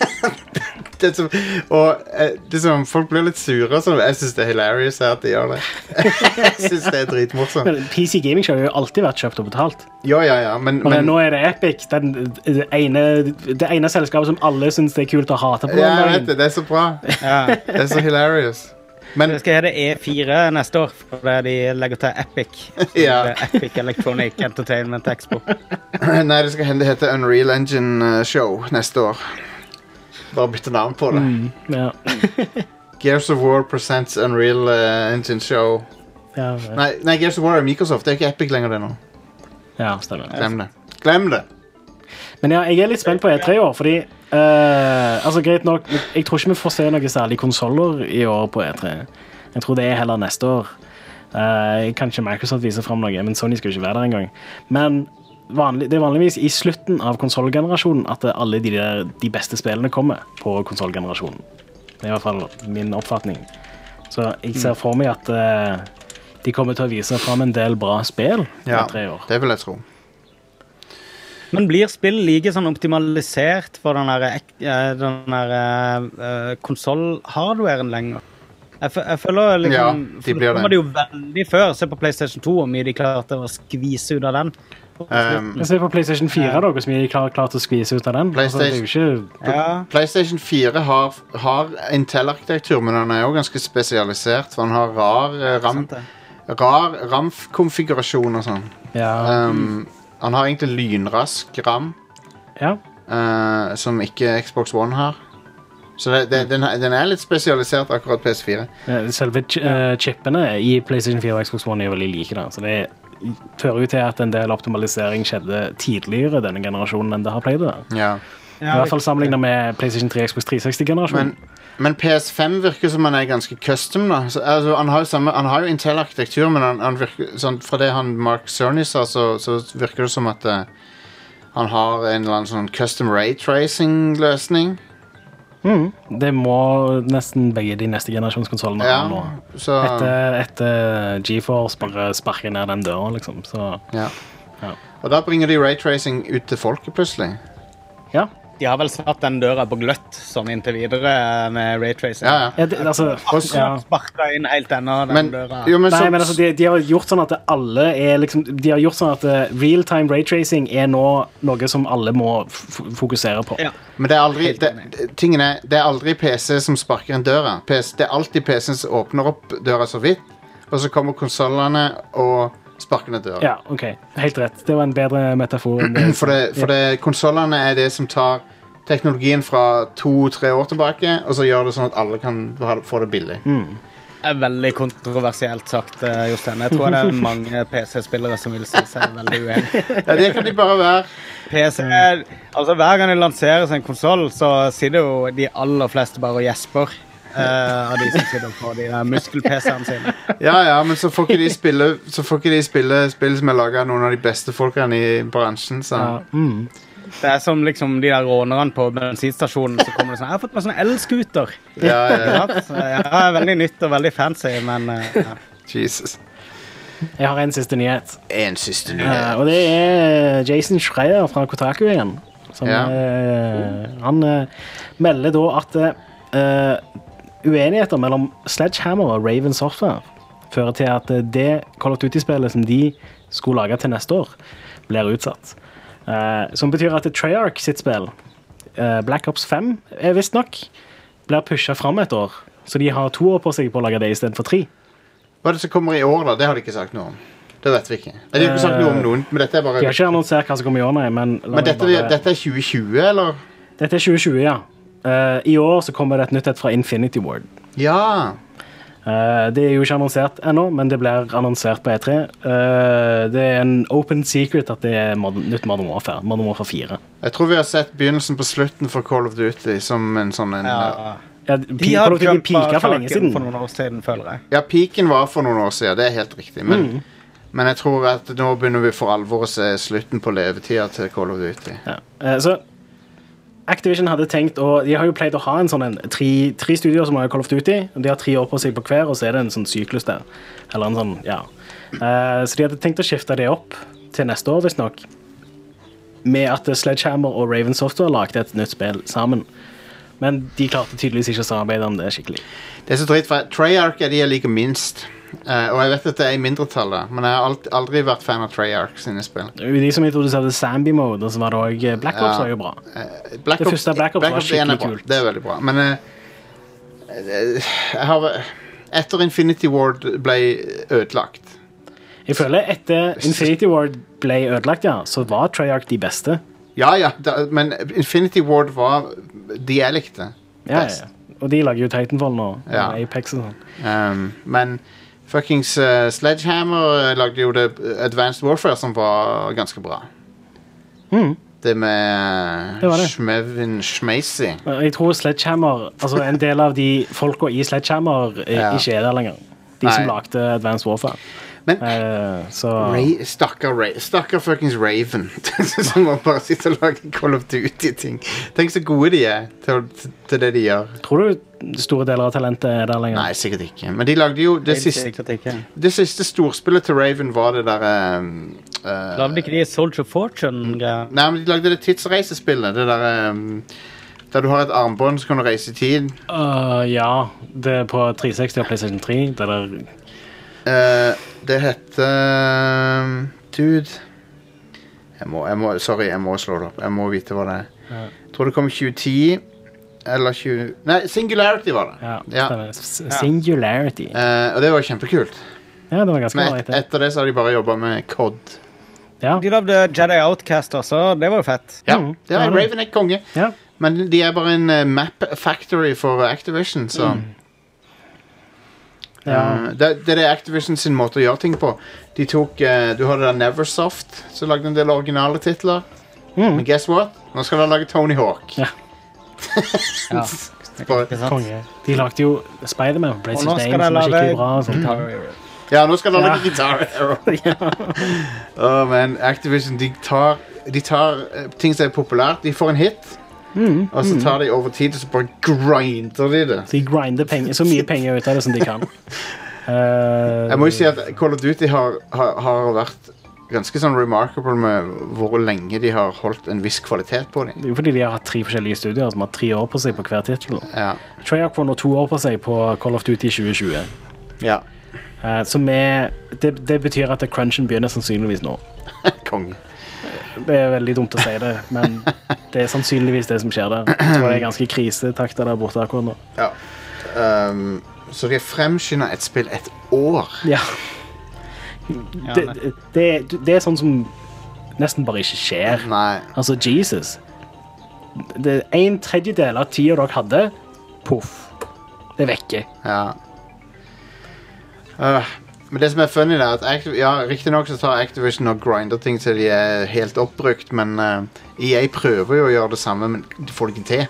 S1: det som, og eh, det som, folk blir litt sure og sånn. Jeg syns det er hilarious her at de gjør det. Jeg syns det er dritmorsomt.
S2: Men PC Gaming Show har jo alltid vært kjøpt og betalt.
S1: Ja, ja, ja, men,
S2: Men,
S1: men
S2: nå er det Epic, den, det, ene, det ene selskapet som alle syns det er kult å hate på.
S1: ja, jeg
S2: den
S1: vet det.
S2: dagen.
S1: Det er så bra.
S4: ja.
S1: Det er så hilarious. Men
S4: Jeg skal hete E4 neste år, for det de legger til Epic.
S1: Ja.
S4: Det er Epic Electronic Entertainment Expo.
S1: nei, det skal hende det heter Unreal Engine eh, Show neste år. Bare bytte navn på det.
S2: Ja,
S1: Gears of War presents Unreal eh, Engine Show.
S2: ja, ja.
S1: Nei, nei, Gears of War er Microsoft. Det er ikke Epic lenger, det nå.
S2: ja, stemmer.
S1: Glem det. Glem det.
S2: Men ja, jeg er litt spent på E3 i år, fordi eh, altså greit nok, Jeg tror ikke vi får se noe særlig konsoller i år på E3. Jeg tror det er heller neste år. Eh, kanskje Microsoft viser fram noe, men Sony skal jo ikke være der engang. Men vanlig, det er vanligvis i slutten av konsollgenerasjonen at alle de, der, de beste spillene kommer på konsollgenerasjonen. Det er i hvert fall min oppfatning. Så jeg ser for meg at eh, de kommer til å vise fram en del bra spill
S1: Ja,
S2: om tre år.
S1: det vil jeg tro.
S4: Men blir spill like sånn optimalisert for den der, ek- eh, den der eh, eh, konsoll-hardwaren lenger? Jeg, fø- jeg føler liksom
S1: Ja, de
S4: for
S1: blir det.
S4: var det jo veldig før. Se på PlayStation 2 hvor mye de klarte å skvise ut av den.
S1: Um,
S2: Men se på PlayStation 4, da, hvordan mye klar, klart å skvise ut av den. Altså, det er jo ikke...
S4: Ja.
S1: PlayStation 4 har, har Intel-arkitektur, men den er jo ganske spesialisert. For den har rar, eh, ram,
S4: Sant det.
S1: rar RAM-konfigurasjon og sånn.
S2: Ja.
S1: Um, han har egentlig lynrask RAM,
S2: ja.
S1: eh, som ikke Xbox One har. Så det, det, den, den er litt spesialisert, akkurat PS4.
S2: Eh, Selve ch eh, chipene i PlayStation 4 og Xbox One er jo veldig like. Da. Så det fører jo til at en del optimalisering skjedde tidligere denne generasjonen enn det har pleid. å være.
S1: Ja.
S2: I hvert fall sammenlignet med PlayStation 3 og Xbox
S1: Men,
S2: 360-generasjonen.
S1: men PS5 virker som han er ganske custom. da så, altså, han, har jo samme, han har jo Intel-arkitektur, men han, han virker, sånn, fra det han Mark Cerny sa, så, så virker det som at eh, han har en eller annen sånn custom raytracing-løsning.
S2: Det må nesten begge de neste generasjonskonsollene ha nå.
S1: Ja, så
S2: Etter, etter GeForce bare sparker ned den døra, liksom. Så
S1: ja.
S2: Ja.
S1: Og da bringer de raytracing ut til folket, plutselig.
S2: ja.
S4: De har vel satt den døra på gløtt sånn inntil videre med Raytracing.
S1: Ja, ja.
S2: ja det, altså,
S1: Og-
S2: ja.
S4: Sparka inn helt ennå, den
S1: Men,
S4: døra.
S1: jo, men, så,
S2: Nei, men altså, de, de har gjort sånn at alle er liksom De har gjort sånn at eh, real-time raytracing er nå noe som alle må f fokusere på.
S4: Ja.
S1: Men det er aldri
S4: Helt
S1: det, tingen er, det er aldri PC som sparker inn døra. PC, det er alltid PC som åpner opp døra så vidt, og så kommer konsollene og sparker ned døra.
S2: Ja, ok. Helt rett. Det var en bedre metafor. enn det-
S1: For, det, for det, konsollene er det som tar
S2: Mm.
S1: teknologien fra to-tre år tilbake, og så gjør det sånn at alle kan ha- få det billig.
S4: er veldig kontroversielt sagt, eh, Jostein. Jeg tror det er mange PC-spillere som vil si seg veldig uenig.
S1: Ja, det kan de bare være.
S4: PC, er- altså Hver gang det lanseres en konsoll, så sitter jo de aller fleste bare og gjesper. eh, av de som sitter på de der muskel-PC-ene sine.
S1: Ja, ja, men så får ikke de spille Så får ikke de spille spill som er laga av noen av de beste folkene i bransjen. Så.
S2: Ja. Mm.
S4: Det er som liksom de der rånerne på bensinstasjonen som kommer og sånn 'Jeg har fått meg sånn elscooter'.
S1: Ja, ja, ja.
S4: Ja, så, ja, veldig nytt og veldig fancy, men eh, ja.
S1: Jesus.
S2: Jeg har en siste nyhet.
S1: En siste
S2: Eh,
S1: nyhet.
S2: og det er Jason Schreier fra Kotaku igjen. Som,
S1: Ja.
S2: eh, han eh, melder da at eh, uenigheter mellom Sledgehammer og Raven Software fører til at eh, det Call of Duty-spillet som de skulle lage til neste år, blir utsatt. Eh, som betyr at Treyarch sitt spill, eh, Black Ops 5, er visstnok blir pusha fram et år. Så de har to år på seg på å lage det istedenfor tre.
S1: Hva er det som kommer i år, da? Det har de ikke sagt noe om. Det vet vi ikke. Nei, De har ikke sagt noe om noen, men dette er
S2: Eh, De har
S1: bare
S2: ikke annonsert hva som kommer i år, nei, men, la
S1: Men
S2: meg
S1: dette,
S2: bare-
S1: dette er 2020, eller?
S2: Dette er 2020, ja. Eh, I år så kommer det et nytt et fra Infinity Ward.
S1: Ja.
S2: Eh, det er jo ikke annonsert ennå, men det blir annonsert på E3. Eh, det er en open secret at det er modern, nytt Modern Warfare. Modern Warfare 4.
S1: Jeg tror vi har sett begynnelsen på slutten for Call of Duty som en sånn en Ja,
S4: ja.
S2: Ja,
S4: De
S2: de
S4: har
S2: har de pika
S4: jumpa
S2: for lenge siden.
S4: for noen år siden, føler jeg.
S1: peaken var for noen år siden, det er helt riktig, men
S2: Mm.
S1: Men jeg tror at nå begynner vi for alvor å se slutten på levetida til Call of Duty.
S2: Ja. Eh, så Activision hadde tenkt å, De har jo pleid å ha en sånn en, tre, tre studier som har Call of Duty. og De har tre år på seg på hver, og så er det en sånn syklus der. Eller en sånn, ja. Eh, så de hadde tenkt å skifte det opp til neste år, visstnok. Med at Sledgehammer og Raven Software lagde et nytt spill sammen. Men de klarte tydeligvis ikke å samarbeide om det skikkelig.
S1: Det er så dritt, for Treyarch er de jeg liker minst. Eh, og jeg vet at det er i mindretallet, men jeg har alt, aldri vært fan av Treyarch sine spill.
S2: Det var jo De som introduserte Zambi Mode, og så var det også Black Ops var jo bra.
S1: Eh, Black
S2: Det første Black Ops var
S1: 1 er
S2: skikkelig
S1: bra.
S2: kult.
S1: Det er veldig bra, men eh, eh, jeg har, Etter Infinity Ward ble ødelagt
S2: Jeg føler etter Infinity Ward ble ødelagt, ja, så var Treyarch de beste.
S1: Ja, ja, da, men Infinity Ward var de jeg likte.
S2: Ja,
S1: best.
S2: ja. Og de lager jo Titanfall nå.
S1: Ja.
S2: Og Apex og sånn.
S1: Um, men fuckings eh, Sledgehammer eh, lagde jo det Advanced Warfare, som var ganske bra. Det med
S2: Hmm. Det var det.
S1: Schmevin Schmeisy.
S2: Og Jeg tror Sledgehammer Altså en del av de folka i Sledgehammer eh,
S1: Ja.
S2: ikke er der lenger. De som
S1: Nei.
S2: lagde Advanced Warfare.
S1: Men
S2: Eh, så
S1: Ra- Stakkar Ra- stakkar fuckings Raven, som må bare sitte og lage Call of Duty-ting. Tenk så gode de er til, å- til det de gjør.
S2: tror du store deler av talentet er der lenger?
S1: Nei, sikkert ikke. Men de lagde jo det siste,
S4: Sikkert ikke.
S1: det siste storspillet til Raven var det derre um, eh,
S4: Lagde ikke de Soldier Fortune-greier?
S1: Nei, men de lagde det tidsreisespillet. Det der ehm, Der du har et armbånd som kan du reise i tid.
S2: Øh, ja. Det er på 360 og PlayStation 3. Det er der
S1: Eh, det heter ehm, Dude jeg må, jeg må, Sorry, jeg må slå det opp. Jeg må vite hva det er. Jeg tror det kom i 2010 eller 20 Nei, Singularity var det.
S2: ja,
S1: Ja.
S2: stemmer. S- Singularity.
S1: Eh, og det var kjempekult.
S2: Ja, det var ganske
S1: Men
S2: bra.
S1: et,
S2: det.
S1: etter det så har de bare jobba med COD.
S2: Ja.
S4: De lagde Jedi Outcast også. Det var jo fett.
S1: Ja,
S2: Mm,
S1: det
S2: ja,
S1: er
S2: det.
S1: Raven er konge.
S2: ja.
S1: Men de er bare en eh, map factory for Activision, så
S2: Mm. Ja.
S1: Eh, det, det er Activision sin måte å gjøre ting på. De tok, eh, Du hadde da Neversoft, som lagde en del originale titler. Men guess what? Nå skal de lage Tony Hawk.
S2: Mm. Ja.
S4: Ja.
S1: Bare,
S4: Ikke sant?
S2: Konge. De lagde jo Spiderman på
S4: Og nå
S2: PlayStation 1,
S4: skal
S2: som
S4: de
S2: var
S4: lage Mm.
S2: skikkelig bra. altså. sånn. og
S1: Mm.
S2: sånt.
S1: ja, nå skal de lage
S2: Ja.
S1: Guitar Hero. Åh, men Activision de tar, de tar eh, ting som er populært. De får en hit,
S2: Mm.
S1: og så tar de over tid og så bare grinder de det.
S2: Så de grinder penger, så mye penger ut av det som de kan. Eh,
S1: Jeg må jo si at Call of Duty har, har, har vært ganske sånn remarkable med hvor lenge de har holdt en viss kvalitet på dem.
S2: det er jo fordi de har hatt tre forskjellige studier som har tre år på seg på hver tittel.
S1: Ja.
S2: Treyarch får nå to år på seg på Call of Duty 2020.
S1: ja.
S2: Eh, som er, det, det betyr at crunchen begynner sannsynligvis nå.
S1: Konge.
S2: Det er veldig dumt å si det, men det er sannsynligvis det som skjer der. Jeg tror det er ganske krisetakter der borte akkurat nå.
S1: Ja. Ehm, så de har fremskynda et spill et år.
S2: Ja,
S4: Ja,
S2: det,
S4: nei.
S2: det, det, det er sånn som nesten bare ikke skjer.
S1: Nei.
S2: Altså, Jesus. Det er en tredjedel av tida dere hadde, poff. Det er vekke.
S1: Ja. Øh, men det som er funny, er at Activ ja, riktignok så tar Activision og grinder ting til de er helt oppbrukt, men eh, EA prøver jo å gjøre det samme, men de får det ikke til. Så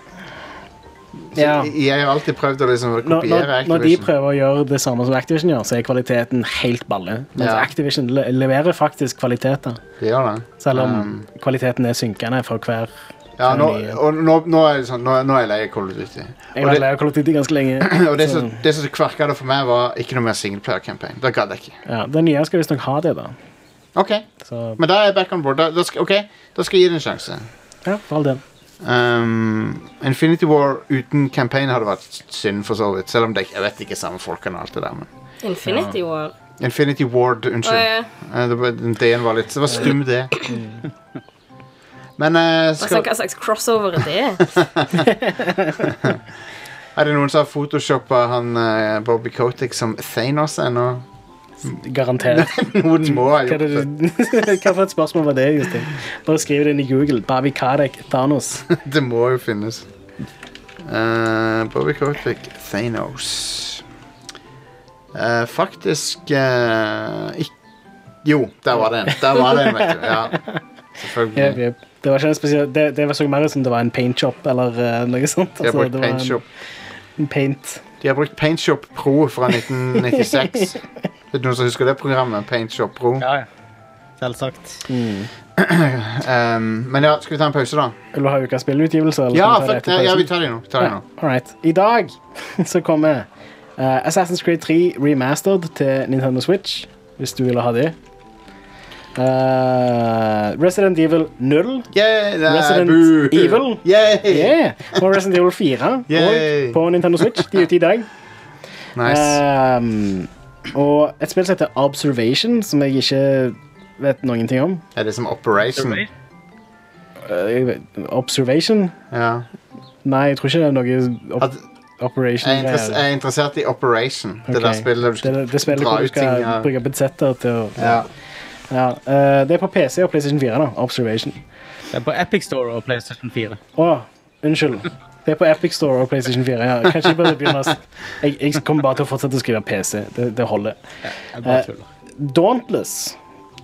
S2: Ja.
S1: EA har alltid prøvd å liksom
S2: Når, når,
S1: kopiere
S2: når de
S1: Activision.
S2: prøver å gjøre det samme som Activision gjør, så er kvaliteten helt balle. Mens
S1: Ja.
S2: Activision le leverer faktisk kvaliteter,
S1: De gjør det.
S2: selv om
S1: Um.
S2: kvaliteten er synkende for hver
S1: Ja,
S2: hver
S1: nå,
S2: nye.
S1: og nå, nå, er det sånn, nå, nå er jeg lei av Call of Duty.
S2: Jeg
S1: Og
S2: har
S1: det,
S2: lært Call of Duty ganske lenge.
S1: og det som,
S2: så-
S1: det som kverka det for meg, var ikke noe mer singleplayer-campaign. Da gadd jeg ikke.
S2: ja, den nye skal visstnok ha det, da.
S1: Ok,
S2: Så
S1: Men da er jeg back on board. Da, da, skal, ok, da skal jeg gi det en sjanse.
S2: ja, for all del.
S1: Um, Infinity War uten campaign hadde vært synd, for så vidt. Selv om det, jeg vet ikke er samme folkene og alt det der, men
S3: Infinity War.
S1: Infinity Ward,
S3: Å,
S1: unnskyld.
S3: ja.
S1: Eh, det var- Den D-en var litt Det var stum, det. Men eh,
S3: Altså,
S1: skal,
S3: hva slags crossover er det?
S1: er det noen som har photoshoppa han eh, Bobby Kotick som Thanos ennå?
S2: Garantert.
S1: Noen må ha
S2: Hva, er
S1: gjort det.
S2: det, du- hva for et spørsmål var det, Justin? Bare skriv det inn i Google. Bavi Karek Thanos.
S1: Det må jo finnes. Eh, Bobby Kotick, Thanos Eh, Faktisk eh, ikk- Jo, der var den. Der var den, vet du. Ja.
S2: Jep,
S1: Selvfølgelig.
S2: jep. Det var ikke en spesiell Det, det var så mer ut som det var en paintshop eller eh, noe sånt.
S1: De har
S2: Altså,
S1: brukt
S2: det var en-
S1: PaintShop
S2: En paint.
S1: De har brukt PaintShop Pro fra 1996. Det er noen som husker det programmet? PaintShop Pro.
S4: Ja, ja. Selvsagt.
S1: Ehm, men ja, skal vi ta en pause, da?
S2: Vil du ha ukas spillutgivelse? eller
S1: Ja,
S2: skal vi ta det
S1: for,
S2: etter
S1: ja,
S2: pausen?
S1: vi tar det nå. Vi tar det nå.
S2: Ja, all right. I dag så kommer eh, Assassin's Creed 3 Remastered til Nintendo Switch, hvis du ville ha det. Eh, Resident Evil 0
S1: Yeah, nei,
S2: Resident
S1: boo.
S2: Evil?
S1: Yeah.
S2: yeah, og Resident Evil 4
S1: Yay.
S2: og på Nintendo Switch. De er ute i dag.
S1: Nice.
S2: Ehm, og et spill som heter Observation, som jeg ikke vet noen ting om.
S1: Er det som
S4: Mm.
S1: Operation?
S2: Eh, jeg vet- Observation?
S1: Ja.
S2: Nei, jeg tror ikke det er noe op
S1: At, jeg, er interess-
S2: Operation-greier.
S1: jeg er interessert i Operation. Det
S2: Ok.
S1: der spillet der du
S2: Det,
S1: skal
S2: det spillet
S1: dra
S2: hvor du
S1: ut ting.
S2: skal
S1: Ja.
S2: bruke budsjetter til å
S1: Ja.
S2: Ja, eh, det er på PC og PlayStation 4, da. Observation.
S4: Det er på Epic Store og PlayStation 4.
S2: Å, unnskyld. Det er på Epic Store og PlayStation 4. ja. Kanskje jeg bare begynner å s- jeg, jeg kommer bare til å fortsette å skrive PC. Det, det holder.
S4: Jeg bare
S2: Eh,
S4: tuller.
S2: Dauntless.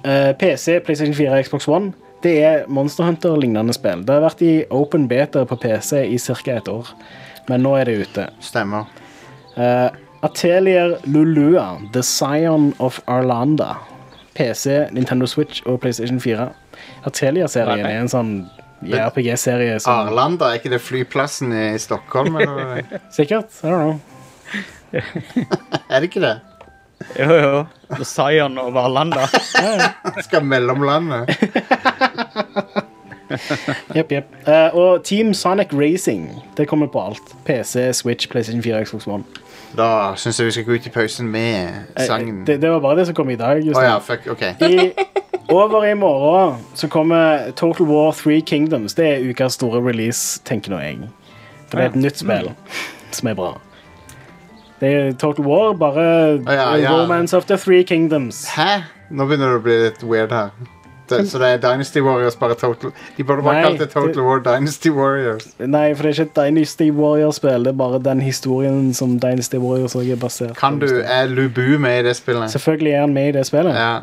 S2: eh, PC, PlayStation 4, Xbox One. Det er Monster Hunter-lignende spill. Det har vært i open beta på PC i ca. et år, men nå er det ute.
S1: Stemmer.
S2: Eh, Atelier Lulua, The Scion of Arlanda. PC, Nintendo Switch og PlayStation 4. Atelier-serien er en sånn JRPG-serie som
S1: Arlanda, er ikke det flyplassen i Stockholm? Eller?
S2: Sikkert? I don't know.
S1: er det ikke det?
S4: Jo, jo. The Zion og Valanda.
S1: Skal mellomlandet.
S2: Jep, jep. Eh, og Team Sonic Racing. Det kommer på alt. PC, Switch, PlayStation 4, Xbox One.
S1: Da syns jeg vi skal gå ut i pausen med
S2: Eh,
S1: sangen.
S2: Det, det var bare det som kom i dag.
S1: Å
S2: Justin.
S1: ja, fuck. OK.
S2: I, over i morgen så kommer Total War 3 Kingdoms. Det er ukas store release, tenker nå jeg. For det er et nytt spill som er bra. Det er Total War, bare
S1: ja, ja.
S2: Romance of the Three Kingdoms.
S1: Hæ? Nå begynner det å bli litt weird her. Det, så det er Dynasty Warriors, bare Total De burde bare
S2: Nei,
S1: kalt det Total
S2: det-
S1: War Dynasty Warriors.
S2: Nei, for det er ikke et Dynasty Warrior-spill. Det er bare den historien som Dynasty Warriors også er basert
S1: Kan du Er Lubu med i det spillet?
S2: Selvfølgelig er han med i det spillet.
S1: Ja.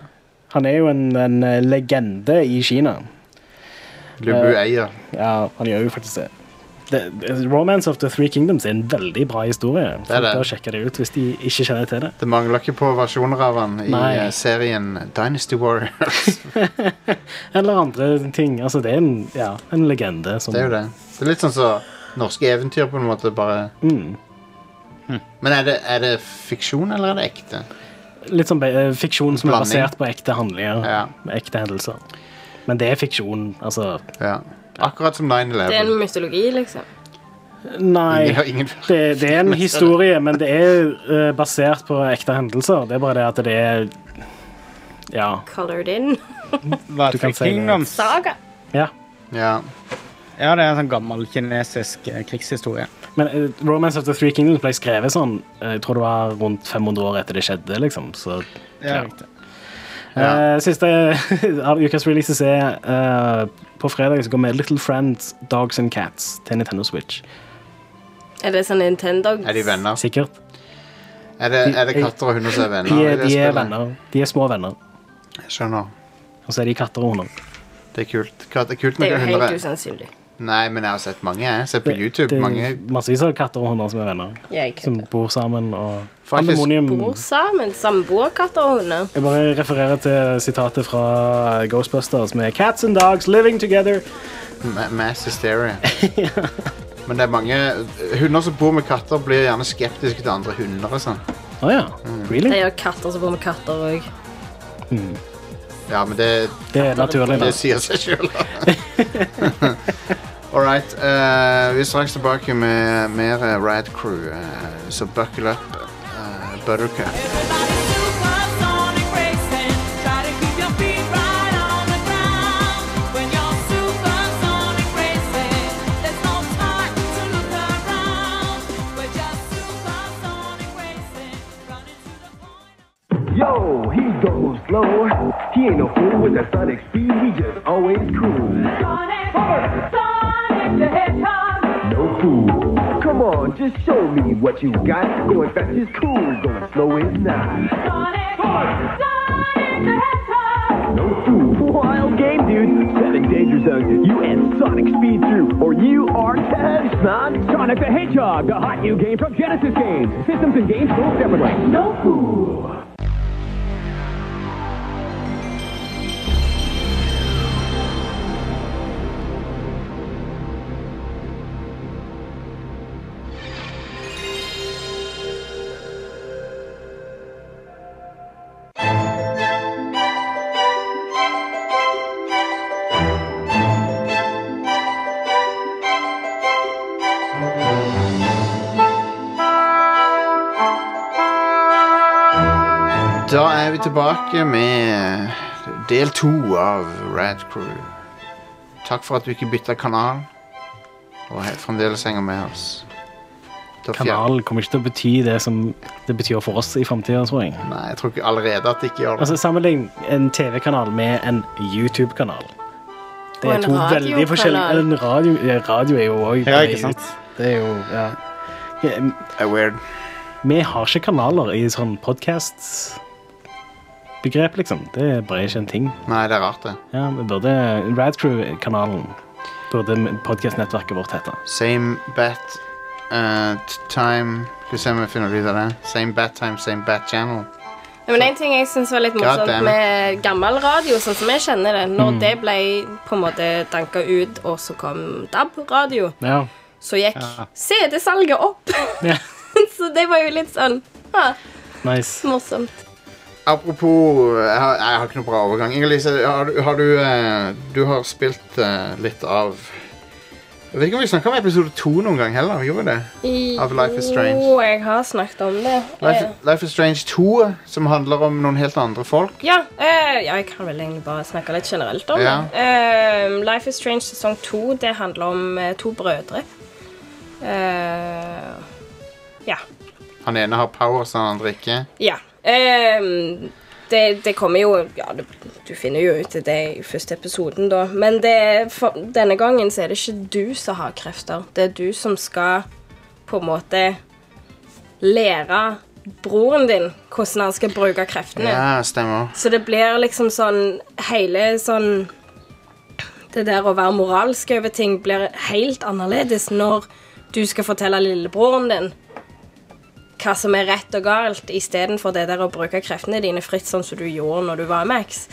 S2: Han er jo en, en eh, legende i Kina.
S1: Lubu
S2: Eh,
S1: eier.
S2: Ja, han gjør jo faktisk det. det. det- Romance of the Three Kingdoms er en veldig bra historie.
S1: Det er det.
S2: Folk bør sjekke det ut hvis de ikke kjenner til det.
S1: Det mangler ikke på versjoner av han i
S2: Nei.
S1: eh, serien Dynasty Warriors.
S2: Eller andre ting. Altså, det er en, ja, en legende. Som,
S1: Det er jo det. Det er litt sånn som norske eventyr, på en måte. bare... Hm.
S2: Mm.
S1: Men er det, er det fiksjon, eller er det ekte?
S2: Litt sånn be- eh, fiksjon som er
S1: Blanding.
S2: basert på ekte handlinger.
S1: Ja.
S2: med Ekte hendelser. Men det er fiksjon, altså.
S1: ja. Akkurat som 9-11.
S3: Det er en mytologi, liksom.
S2: Nei.
S1: Ingen, ingen,
S2: Det, det er en historie, men det er eh, basert på ekte hendelser. Det er bare det at det er Ja.
S3: Colored in.
S4: Hva
S2: Du kan
S4: heter
S2: si det.
S4: Kingdoms?
S3: Saga.
S2: ja.
S1: ja.
S4: Ja, det er en sånn gammel kinesisk eh, krigshistorie.
S2: Men eh, Romance of the Three Kingdoms ble skrevet sånn eh, Jeg tror det var rundt 500 år etter det skjedde, liksom. Så,
S4: Ja, riktig.
S1: Ja.
S2: Eh, siste av ukas releases er eh, På fredag så kommer Little Friends Dogs and Cats til Nintendo Switch.
S3: Er det sånn Nintendo?
S1: Er de venner?
S2: Sikkert.
S1: Er det, er det katter og hunder som er venner?
S2: De
S1: i
S2: er,
S1: det
S2: de er
S1: spillet?
S2: venner. De er små venner.
S1: Jeg skjønner.
S2: Og så er de katter og hunder.
S1: Det er kult. Kat- Det er kult
S3: Det
S1: med
S3: er jo
S1: hunder.
S3: helt
S1: er.
S3: usannsynlig.
S1: Nei, men jeg har sett mange. Jeg har sett på YouTube.
S2: det er
S1: mange
S2: massevis av katter og hunder som er venner.
S3: Jeg
S2: Som bor sammen og
S1: Faktisk-
S2: Pandemonium
S3: bor sammen. Samboerkatter og hunder.
S2: Jeg bare refererer til sitatet fra eh, Ghostbusters med Cats and dogs living together.
S1: ma- mass hysteria. Men det er mange hunder som bor med katter, blir gjerne skeptiske til andre hunder. og sånn.
S2: Å ja.
S3: Det
S2: Really?
S3: gjør katter som bor med katter òg.
S1: Ja, men det,
S2: Det er naturlig. da.
S1: det sier seg sjøl. All right. eh, vi er straks tilbake med mer eh, Rad Crew, eh, så buckle up, eh, Buttercup.
S7: Yo, he goes slow. He ain't no fool with that sonic speed. He just always cool. No fool. Come on, just show me what you got. Going fast is cool. Going slow is not. No fool. Wild game, dude. Seven danger zones. You and Sonic speed through, or you are dead, son. Sonic the Hedgehog, the hot new game from Genesis Games. Systems and games sold separately. No fool.
S1: Da er vi tilbake med del to av Rad Crew. Takk for at du ikke bytta kanal og he- fremdeles henger med oss. Da fjer-
S2: Kanal kommer ikke til å bety det som det betyr for oss i framtida, tror jeg.
S1: Nei, jeg tror ikke allerede at det ikke gjør det.
S2: Altså, Sammenlign en TV-kanal med en YouTube-kanal. Det
S3: Og
S2: er
S3: en
S2: to veldig
S3: radiokanal.
S2: forskjellige eller en radio, ja, radio er jo òg
S4: Ja, ikke sant?
S2: Det er jo ja. Ja, m-
S1: Det er weird.
S2: Vi har ikke kanaler i sånn podkast-begrep, liksom. Det er bare ikke en ting.
S1: Nei, det er rart, det.
S2: Ja, vi burde Radcrew-kanalen burde podkastnettverket vårt hete.
S1: Same bat eh, t- time Skal vi se om vi finner ut av det. Same bat time, same bat channel.
S3: Ja, Men En ting jeg syns var litt morsomt
S1: Goddamn.
S3: med gammel radio, sånn som jeg kjenner det Når det ble på en måte danka ut, og så kom DAB-radio,
S2: Ja.
S3: så gikk CD-salget opp.
S2: Ja.
S3: så det var jo litt sånn ah,
S2: Nice.
S3: morsomt.
S1: Apropos Jeg har, jeg har ikke noe bra overgang. Inger-Lise, har, du- har du eh, Du har spilt eh, litt av Jeg vet ikke om vi snakka om episode to noen gang heller. Gjorde vi det? Av Life is Strange.
S3: Jo, jeg har snakket om det. Eh,
S1: Life, Life is Strange 2, som handler om noen helt andre folk.
S3: Ja, eh, ja, jeg kan vel egentlig bare snakke litt generelt om
S1: Ja.
S3: det. Eh, Life is Strange sesong to, det handler om eh, to brødre. Eh, ja.
S1: Han ene har powers, han andre ikke.
S3: Ja. ehm, det, det kommer jo Ja, du, du finner jo ut av det i første episoden, da. Men det, er for, denne gangen så er det ikke du som har krefter. Det er du som skal på en måte lære broren din hvordan han skal bruke kreftene.
S1: Ja, stemmer.
S3: Så det blir liksom sånn Hele sånn Det der å være moralsk over ting blir helt annerledes når du skal fortelle lillebroren din hva som er rett og galt, istedenfor det der å bruke kreftene dine fritt, sånn som du gjorde når du var Max.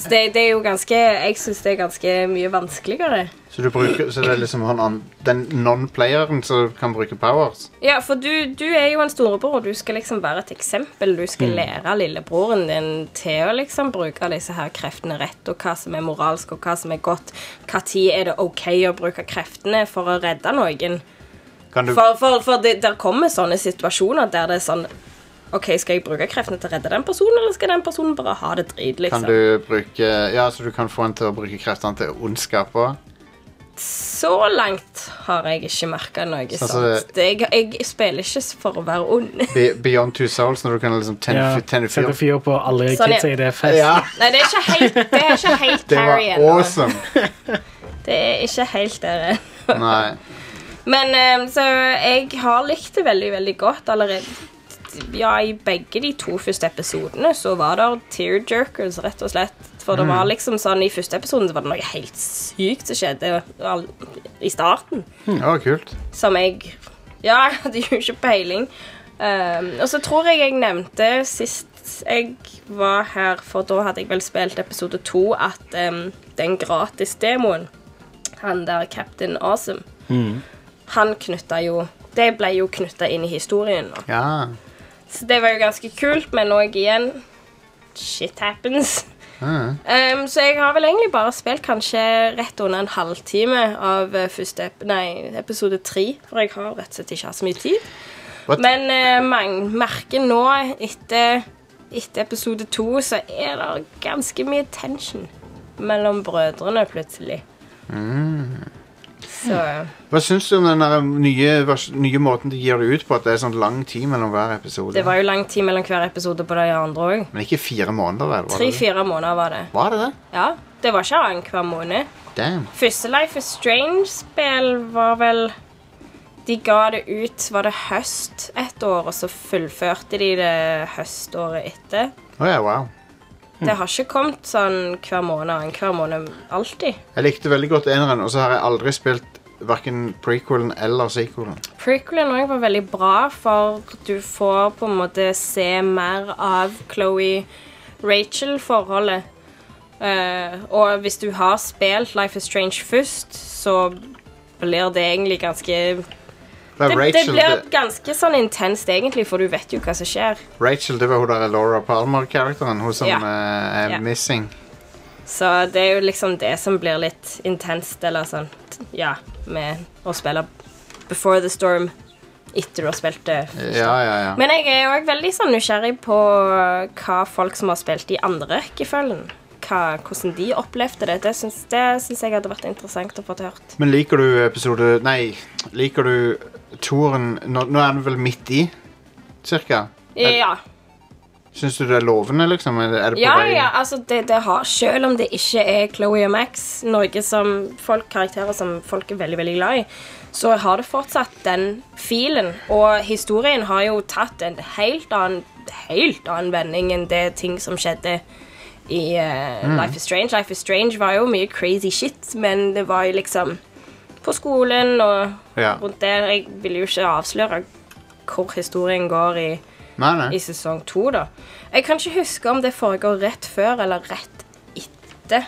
S3: Så det, det er jo ganske Jeg syns det er ganske mye vanskeligere.
S1: Så, du bruker, så det er liksom han, an- den non-playeren som kan bruke powers?
S3: Ja, for du, du er jo en storebror, og du skal liksom være et eksempel. Du
S1: Mm.
S3: skal lære lillebroren din til å liksom bruke disse her kreftene rett, og hva som er moralsk, og hva som er godt. Hva tid er det ok å bruke kreftene for å redde noen?
S1: Kan du,
S3: For, for, for det, der kommer sånne situasjoner der det er sånn OK, skal jeg bruke kreftene til å redde den personen, eller skal den personen bare ha det drit,
S1: kan
S3: liksom?
S1: du bruke Ja, så du kan få han til å bruke kreftene til ondskap òg?
S3: Så langt har jeg ikke merka noe
S1: Altså,
S3: sånt. Jeg, jeg spiller ikke for å være ond.
S1: Beyond Two Souls, når du kan liksom tenne,
S2: Ja.
S1: fyr- tenne
S2: Sette
S1: fyr
S2: fyr på alle
S3: Sånn, ja.
S2: kidsa i det fest.
S1: Ja,
S3: Nei, det er ikke helt, det er ikke helt
S1: det var
S3: Carrie ennå.
S1: awesome!
S3: Det er ikke helt der. ennå. ehm,
S1: Nei.
S3: Men eh, så jeg har likt det veldig, veldig godt allerede. ja, i begge de to første episodene så var det tearjerkers, rett og slett. For det
S1: Mm.
S3: var liksom sånn, i første episoden så var det noe helt sykt som skjedde all- i starten.
S1: Ja, kult.
S3: Som jeg Ja, jeg hadde jo ikke peiling. Um, og så tror jeg jeg nevnte sist jeg var her, for da hadde jeg vel spilt episode to, at um, den gratis-demoen, han der Captain Awesome, han knytta jo Det ble jo knytta inn i historien. nå.
S1: Ja.
S3: Så det var jo ganske kult, men òg igjen Shit happens.
S1: Mm.
S3: Um, så jeg har vel egentlig bare spilt kanskje rett under en halvtime av eh, første ep nei, episode tre. For jeg har rett og slett ikke hatt så mye tid.
S1: What?
S3: Men eh, man merker nå, etter, etter episode to, så er det ganske mye tension mellom brødrene plutselig. Så eh,
S1: Hva syns du om den der nye, vers- nye måten de gir det ut på? At det er sånn lang tid mellom hver episode?
S3: det var jo lang tid mellom hver episode på de andre òg.
S1: Men ikke fire måneder, vel? Var det det?
S3: Tre-fire måneder var det.
S1: Var det det?
S3: Ja, Det var ikke annenhver måned.
S1: Damn.
S3: Første Life is Strange-spill var vel De ga det ut var det høst et år, og så fullførte de det høståret etter.
S1: Å ja, wow.
S3: Det har ikke kommet sånn hver måned annenhver måned alltid.
S1: Jeg likte veldig godt eneren, og så har jeg aldri spilt verken prequelen eller sequelen.
S3: Prequelen også var veldig bra, for du får på en måte se mer av Chloé-Rachel-forholdet. Eh, og hvis du har spilt Life is Strange først, så blir det egentlig ganske
S1: Det, var
S3: Det, det
S1: Rachel,
S3: blir
S1: det,
S3: ganske sånn intenst, egentlig, for du vet jo hva som skjer.
S1: Rachel, det var hun der Laura Palmer-karakteren. Hun som
S3: Ja.
S1: eh, er
S3: Ja.
S1: missing.
S3: Så det er jo liksom det som blir litt intenst, eller sånn, t- ja, med å spille Before the Storm etter du har spilt det.
S1: Ja, ja, ja.
S3: Men jeg er òg veldig sånn nysgjerrig på hva folk som har spilt i andre rekkefølgen, hva, hvordan de opplevde det. Det syns, det syns jeg hadde vært interessant å få til hørt.
S1: Men liker du episode Nei, liker du toeren nå, nå er den vel midt i, cirka?
S3: Ja.
S1: Syns du det er lovende, liksom? Er det, er det på
S3: Ja,
S1: vei?
S3: ja, altså det, det har, selv om det ikke er Chloé og Max, noe som folk, karakterer som folk er veldig, veldig glad i, så har det fortsatt den filen, og historien har jo tatt en helt annen, helt annen vending enn det ting som skjedde i eh,
S1: Mm.
S3: Life is Strange. Life is Strange var jo mye crazy shit, men det var jo liksom på skolen og
S1: Ja.
S3: rundt der. Jeg vil jo ikke avsløre hvor historien går i
S1: Nei, nei.
S3: i sesong to, da. Jeg kan ikke huske om det foregår rett før eller rett etter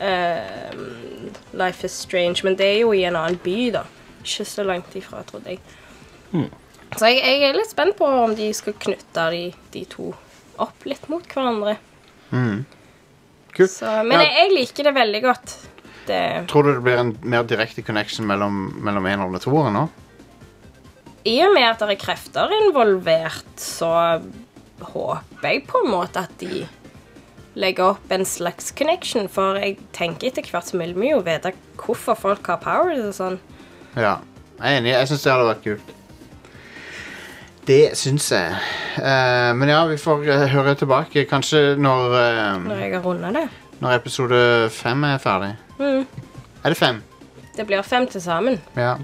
S3: ehm, Life is Strange, men det er jo i en annen by, da. Ikke så langt ifra, trodde jeg. Så jeg, jeg er litt spent på om de skal knytte de, de to opp litt mot hverandre.
S1: Kult.
S3: Så, men
S1: Ja.
S3: jeg, jeg liker det veldig godt. Det,
S1: Tror du det blir en mer direkte connection mellom, mellom eneren og toeren nå?
S3: I og med at det er krefter involvert, så håper jeg på en måte at de legger opp en slags connection, for jeg tenker etter hvert så vil vi jo vite hvorfor folk har powers og sånn.
S1: Ja. Jeg er enig. Jeg syns det hadde vært kult. Det syns jeg. Eh, men ja, vi får eh, høre tilbake kanskje når, eh,
S3: Når jeg har runda det.
S1: når episode fem er ferdig. Er det fem?
S3: Det blir fem til sammen.
S1: Ja.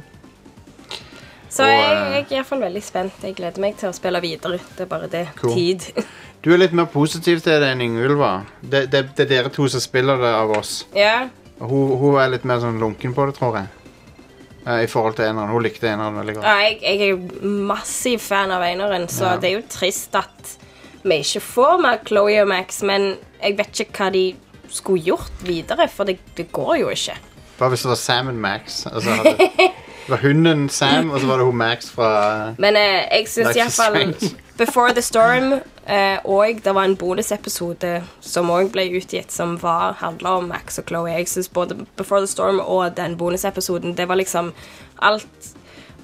S3: Så
S1: Og,
S3: jeg,
S1: eh,
S3: jeg er iallfall veldig spent. Jeg gleder meg til å spille videre. Det er bare det.
S1: Cool.
S3: Tid.
S1: Du er litt mer positiv til det enn Yngvild var. Det, det, det er dere to som spiller det av oss.
S3: ja.
S1: Og Hun, hun er litt mer sånn lunken på det, tror jeg. Eh, I forhold til eneren. Hun likte eneren veldig godt.
S3: Ja, jeg, jeg er jo massiv fan av Einaren, så det er jo trist at vi ikke får mer Chloé og Max, men jeg vet ikke hva de skulle gjort videre, for det, det går jo ikke.
S1: Hva hvis det var Sam og Max? Altså, hadde, det var hunden Sam, og så var det hun Max fra
S3: Men eh, jeg
S1: Life
S3: syns
S1: is
S3: iallfall
S1: Strange.
S3: Before the Storm eh, og det var en bonusepisode som òg ble utgitt, som var handla om Max og Chloé. Jeg syns både Before the Storm og den bonusepisoden, det var liksom alt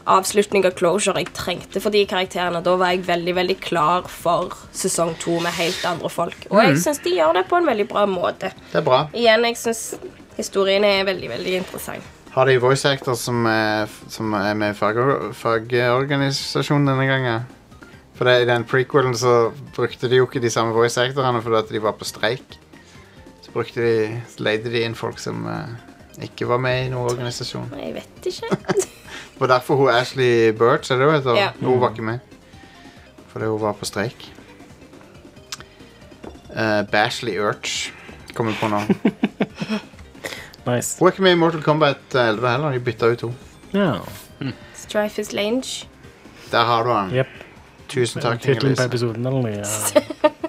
S3: avslutning av closure jeg trengte for de karakterene. Da var jeg veldig veldig klar for sesong to med helt andre folk. Og jeg syns de gjør det på en veldig bra måte.
S1: Det er bra.
S3: Igjen, jeg syns historien er veldig, veldig interessant.
S1: Har de voice actors som er, som er med i fagor- fagorganisasjonen denne gangen? For det, i den prequelen så brukte de jo ikke de samme voice actorene fordi at de var på streik. Så brukte de, så leide de inn folk som eh, ikke var med i noen organisasjon.
S3: Jeg vet ikke.
S1: Det var derfor hun Ashley Birch, er det hun heter?
S3: Ja.
S1: Hun var ikke med. For Fordi hun var på streik. Eh, Bashley Urch kommer jeg på nå. Hun
S2: Nice.
S1: er ikke med i Mortal Kombat 11 heller. De bytta ut henne.
S2: Ja.
S3: Strife is lange.
S1: Der har du han.
S2: Yep.
S1: Tusen takk,
S2: Tittelen på
S1: Inger-Lise.
S2: episoden eller noe. Ja.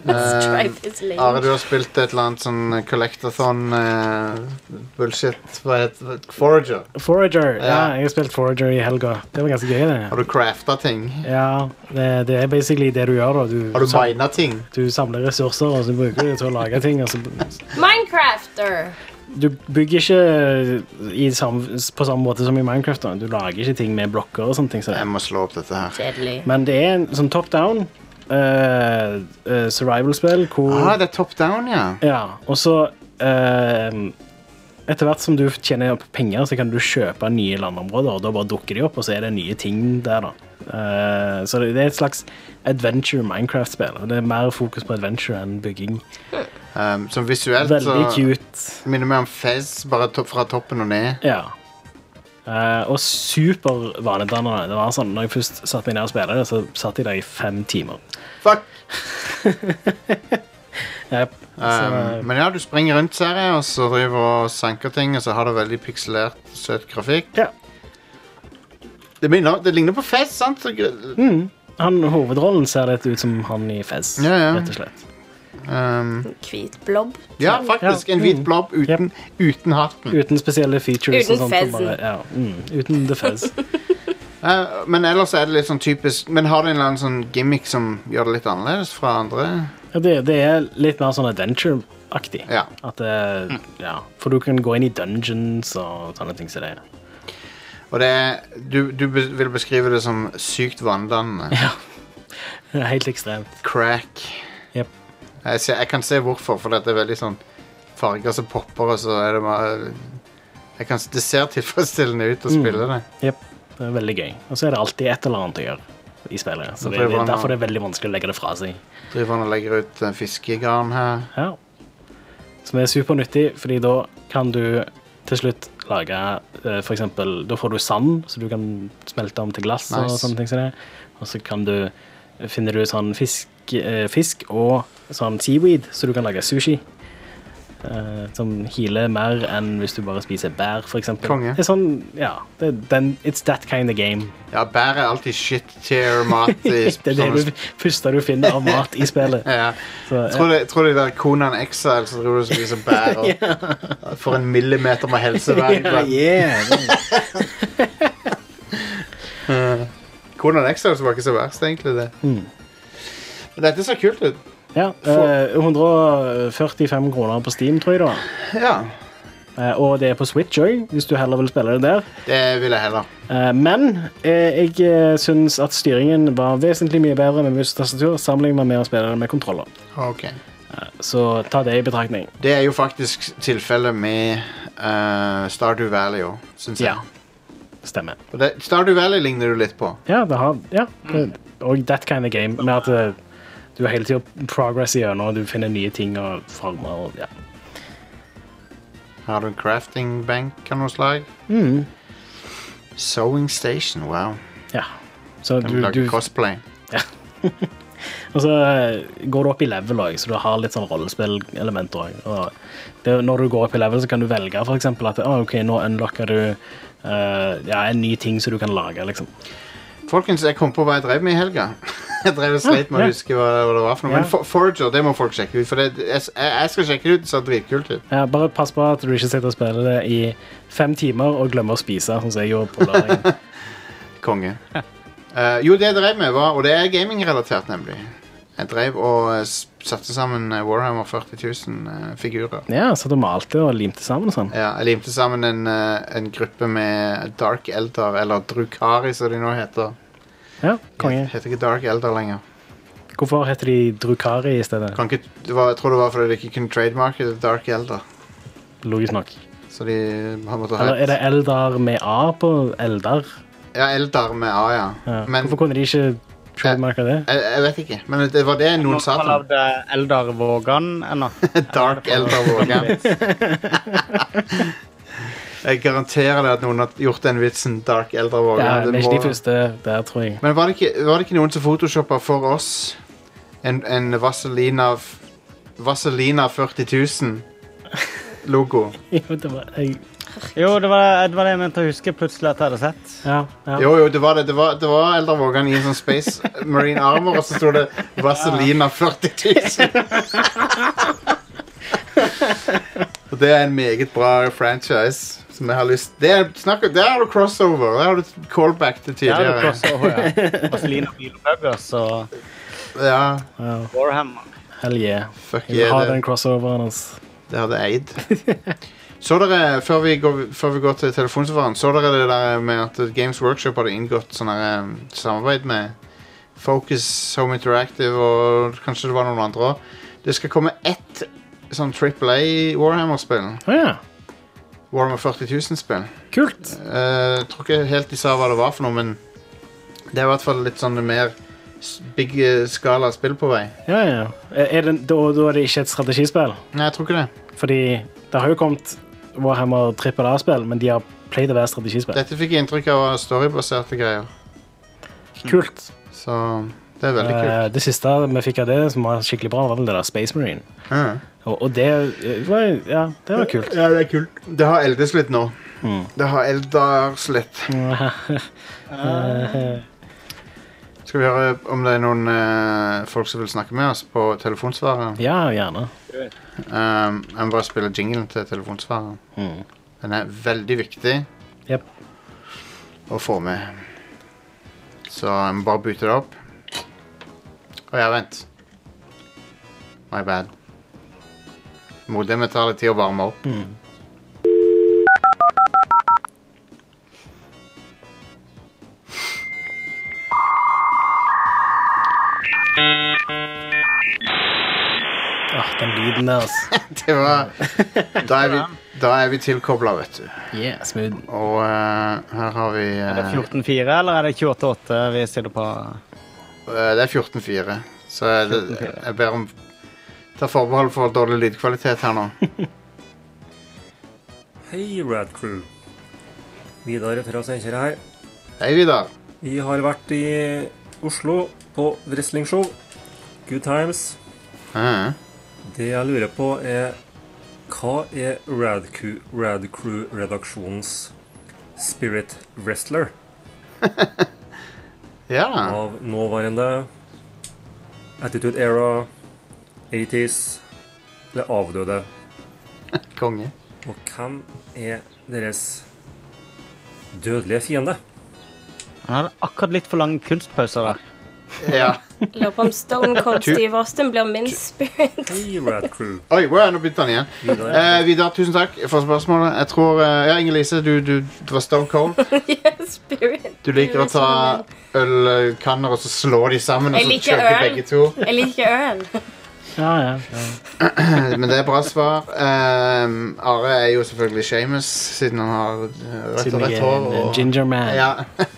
S3: Strife is
S1: Are,
S3: lange.
S1: du har spilt et eller annet sånn collectathon eh, bullshit. Hva heter det? Forager.
S2: Forager. Ja,
S1: Ja.
S2: jeg har spilt Forager i helga. Det var ganske gøy, det.
S1: Har du crafta ting?
S2: Ja, det, det er basically det du gjør, da.
S1: Har du
S2: Du, sam
S1: mina ting?
S2: du samler ressurser, og så bruker du det til å lage ting. Og så
S3: Minecrafter!
S2: du bygger ikke i sam på samme måte som i Minecraft. Da. Du lager ikke ting med blokker og sånne ting. Så.
S1: Jeg må slå opp dette her.
S3: Kjedelig.
S2: Men det er en sånn top down eh, eh, survival-spill hvor
S1: Ah, det er top down, ja.
S2: Ja, og så eh, Etter hvert som du tjener opp penger, så kan du kjøpe nye landområder, og da bare dukker de opp, og så er det nye ting der, da. Eh, så det, det er et slags adventure Minecraft-spill. og Det er mer fokus på adventure enn bygging.
S1: Um, som visuelt
S2: Veldig
S1: så
S2: cute.
S1: minner meg om Fez, bare to fra toppen og ned.
S2: Ja. Eh, og super vanedannende. Det var sånn, når jeg først satte meg ned og spilte det, så satt jeg der i fem timer.
S1: Fuck!
S2: Yep. Så,
S1: Um, men ja, du springer rundt, ser jeg, og så driver og sanker ting, og så har det veldig pikselert, søt grafikk.
S2: ja.
S1: Det, minner, det ligner på Fez, sant? Så gr-
S2: Mm. Han, hovedrollen ser litt ut som han i Fez,
S1: Ja, ja.
S2: rett og slett.
S1: Um,
S3: Hvit blob.
S1: ja, faktisk.
S2: Ja.
S1: En hvit blob uten, uten hatten.
S2: Uten spesielle features.
S3: Uten
S2: og sånt, og
S3: fezzen.
S2: Bare, ja, mm, uten the fez.
S1: Uh, men ellers er det litt sånn typisk Men har det en eller annen sånn gimmick som gjør det litt annerledes fra andre?
S2: Ja, det, det er litt mer sånn adventure-aktig.
S1: Ja.
S2: At det, ja, For du kan gå inn i dungeons og sånne ting som det.
S1: Og det er Du, du be vil beskrive det som sykt vanndannende.
S2: Det er Helt ekstremt.
S1: Crack.
S2: Jep.
S1: Jeg, ser, jeg kan se hvorfor, for dette er veldig sånn farger som popper, og så er det bare jeg kan, s- Det ser tilfredsstillende ut å
S2: Mm.
S1: spille det.
S2: Jep. Det er veldig gøy. Og så er det alltid et eller annet å gjøre i spillet. Så
S1: Da
S2: det, det
S1: prøver han
S2: er
S1: å-
S2: derfor det er veldig vanskelig å legge det fra seg.
S1: Driver han og legger ut eh, fiskegarn her.
S2: Ja. Som er supernyttig, fordi da kan du til slutt lage eh, for eksempel, Da får du sand, så du kan smelte om til glass og
S1: Nice.
S2: sånne ting som det. Og så kan du finner du sånn fisk, eh, fisk og sånn seaweed, så du kan lage sushi. eh, som healer mer enn hvis du bare spiser bær, for eksempel.
S1: Konge.
S2: Det er sånn, ja. Det, er den, it's that kind of game.
S1: Ja, bær er alltid shit tier mat i
S2: Det er det
S1: sånne
S2: du, første du finner av mat i spillet.
S1: sånn Ja.
S2: Så, ja.
S1: Tror du, tror du det er Konan Exile som driver og spiser bær og får en millimeter med helsevern? Konan Exile var ikke så verst, egentlig. det. Men dette ser kult ut.
S2: Ja, eh, 145 kroner på Steam, tror jeg det var.
S1: Ja,
S2: Eh, og det er på Switch òg, hvis du heller vil spille det der.
S1: Det vil jeg heller.
S2: Eh, men eh, jeg eh, syns at styringen var vesentlig mye bedre med mus og tastatur sammenlignet med å spille det med kontroller.
S1: Ok.
S2: Så ta det i betraktning.
S1: Det er jo faktisk tilfellet med eh, Stardew Valley òg, syns jeg.
S2: Ja. Stemmer.
S1: Og det, Stardew Valley ligner du litt på.
S2: Ja, det har ja, det, Og that kind of game, med at eh, du hele tida progresser gjennom, og du finner nye ting og former og ja.
S1: Har du en crafting bank av noe slag? Mm. Sewing Station, wow.
S2: ja. Så
S1: Du,
S2: du,
S1: lager
S2: du
S1: cosplay.
S2: Og så eh, går du opp i level òg, så du har litt sånn rollespillelementer òg. Når du går opp i level, så kan du velge for eksempel at ah, ok, nå unlocker du eh, ja, en ny ting som du kan lage. liksom.
S1: Folkens, jeg kom på hva jeg drev med i helga. Jeg drev og sleit med å
S2: Ja.
S1: huske hva, hva det var for noe.
S2: Ja.
S1: Men For Forager, det må folk sjekke ut. For det, jeg, jeg skal sjekke det ut, det ser dritkult ut.
S2: Ja, bare pass på at du ikke sitter og spiller det i fem timer og glemmer å spise, sånn som jeg gjorde på lørdag.
S1: Konge. Eh, jo, det jeg drev med, var Og det er gamingrelatert, nemlig. Jeg drev og eh, s- satte sammen eh, Warhammer 40 000 eh, figurer.
S2: ja, så du malte og limte sammen og sånn.
S1: Ja, jeg limte sammen en, eh, en gruppe med Dark Elder, eller Drukari, som de nå heter.
S2: Ja, konge.
S1: Heter ikke Dark Elder lenger.
S2: Hvorfor heter de Drukari i stedet?
S1: Kan ikke, det var, jeg tror det var fordi de ikke kunne trademarke Dark Elder.
S2: Logisk nok.
S1: Så de har måttet ha
S2: Eller er det Eldar med A på Eldar?
S1: Ja, Eldar med A, ja.
S2: Ja.
S1: Men
S2: Hvorfor kunne de ikke trademarke det?
S1: jeg, jeg vet ikke. Men det var det noen sa til meg.
S4: lagd Eldar Vågan ennå.
S1: Dark Eldar Vågan. Jeg garanterer deg at noen har gjort den vitsen Dark Eldrevåg.
S2: Ja,
S1: Det
S2: men
S1: må-
S2: ikke de første der, tror jeg.
S1: Men var det ikke, var det ikke noen som photoshoppa for oss en, en Vaselina f- Vaselina 40 000 logo?
S2: Jo, det var, jeg,
S4: Jo, det var, det var det jeg mente å huske plutselig at jeg hadde sett.
S2: ja, ja.
S1: Jo, jo, det var det. Det var, det var Eldre Vågan i en sånn Space Marine Armor, og så sto det Vaselina 40 000. Og det er en meget bra franchise. Som jeg har lyst det er, snakk, Der har du crossover. Der har du callback til
S4: Ja, det
S1: tidligere.
S4: passer også, ja. Vaseline og bilbuggers og
S1: Ja,
S2: Wow.
S4: Warhammer.
S2: Hell yeah.
S1: fuck
S2: Jeg vil
S1: yeah,
S2: ha
S1: det-
S2: den crossoveren hans.
S1: Det hadde jeg eid. Så dere, før vi går, før vi går til telefonsvareren, så dere det der med at Games Workshop hadde inngått sånn her, um, samarbeid med Focus, Home Interactive og kanskje det var noen andre òg. Det skal komme ett sånn Triple A Warhammer-spill.
S2: Å ja.
S1: Warhammer 40 000-spill.
S2: Kult.
S1: Eh, Jeg tror ikke helt de sa hva det var for noe, men det er i hvert fall litt sånn mer s- big eh, skala spill på vei.
S2: Ja, ja. Er det, da, da er det ikke et strategispill?
S1: Nei, jeg tror ikke det.
S2: Fordi det har jo kommet Warhammer trippel A-spill, men de har pleid å være strategispill.
S1: Dette fikk jeg inntrykk av var storybaserte greier,
S2: Kult.
S1: så det er veldig kult.
S2: Eh, det siste vi fikk av det som var skikkelig bra, var vel det der Space Marine.
S1: Ja.
S2: Og, og det eh, var Ja, det var kult.
S1: Ja, det er kult. Det har eldes litt nå. Det har eldes litt. Skal vi høre om det er noen eh, folk som vil snakke med oss på telefonsvareren?
S2: Ja, gjerne.
S1: Um, jeg må bare spille jinglen til telefonsvareren.
S2: Mm.
S1: Den er veldig viktig
S2: Jep.
S1: å få med. Så jeg må bare bytte det opp. Å ja, vent. My bad. Modemet tar litt tid å varme opp.
S2: Åh, den lyden der, altså.
S1: Det var, da er vi, da er vi tilkobla, vet du.
S2: Yeah, smooth.
S1: Og eh, her har vi
S4: Er det
S1: eh,
S4: 14-4, eller er det 28-8 vi sitter på?
S1: eh, Det er 14-4. Så jeg, jeg ber om Ta forbehold for dårlig lydkvalitet her nå.
S8: Hei, Rad Crew. Vidar fra Steinkjer her.
S1: Hei, Vidar.
S8: Vi har vært i Oslo på wrestlingshow. Good times.
S1: Eh,
S8: Det jeg lurer på, er hva er Rad Crew- Rad Crew-redaksjonens Spirit Wrestler
S1: ja.
S8: av nåværende Attitude Era, 80s, det avdøde?
S1: Konge.
S8: Og hvem er deres dødelige fiende?
S4: Han hadde akkurat litt for lange kunstpauser der.
S1: Ja.
S3: Lurer på om Stone Cold Steve Austin blir min spirit.
S8: Hei, Rad Crew.
S1: Oi, wow, nå begynte han igjen.
S8: Vidar.
S1: Eh, Vidar, tusen takk for spørsmålet. Jeg tror eh, Ja, Inger-Lise, du, du, du var stone cold.
S3: Yes, spirit.
S1: Du liker å ta ølkanner og så slå de sammen, og
S3: Jeg
S1: så
S3: liker
S1: chugge
S3: øl.
S1: begge to.
S3: Jeg liker øl.
S2: Ja, ja. ja.
S1: Eh, Men det er bra svar. Eh, Are er jo selvfølgelig Shames, siden han har eh, rødt
S2: Siden
S1: og rett
S2: jeg er
S1: hår.
S2: en
S1: og-
S2: eh, ginger man.
S1: Ja.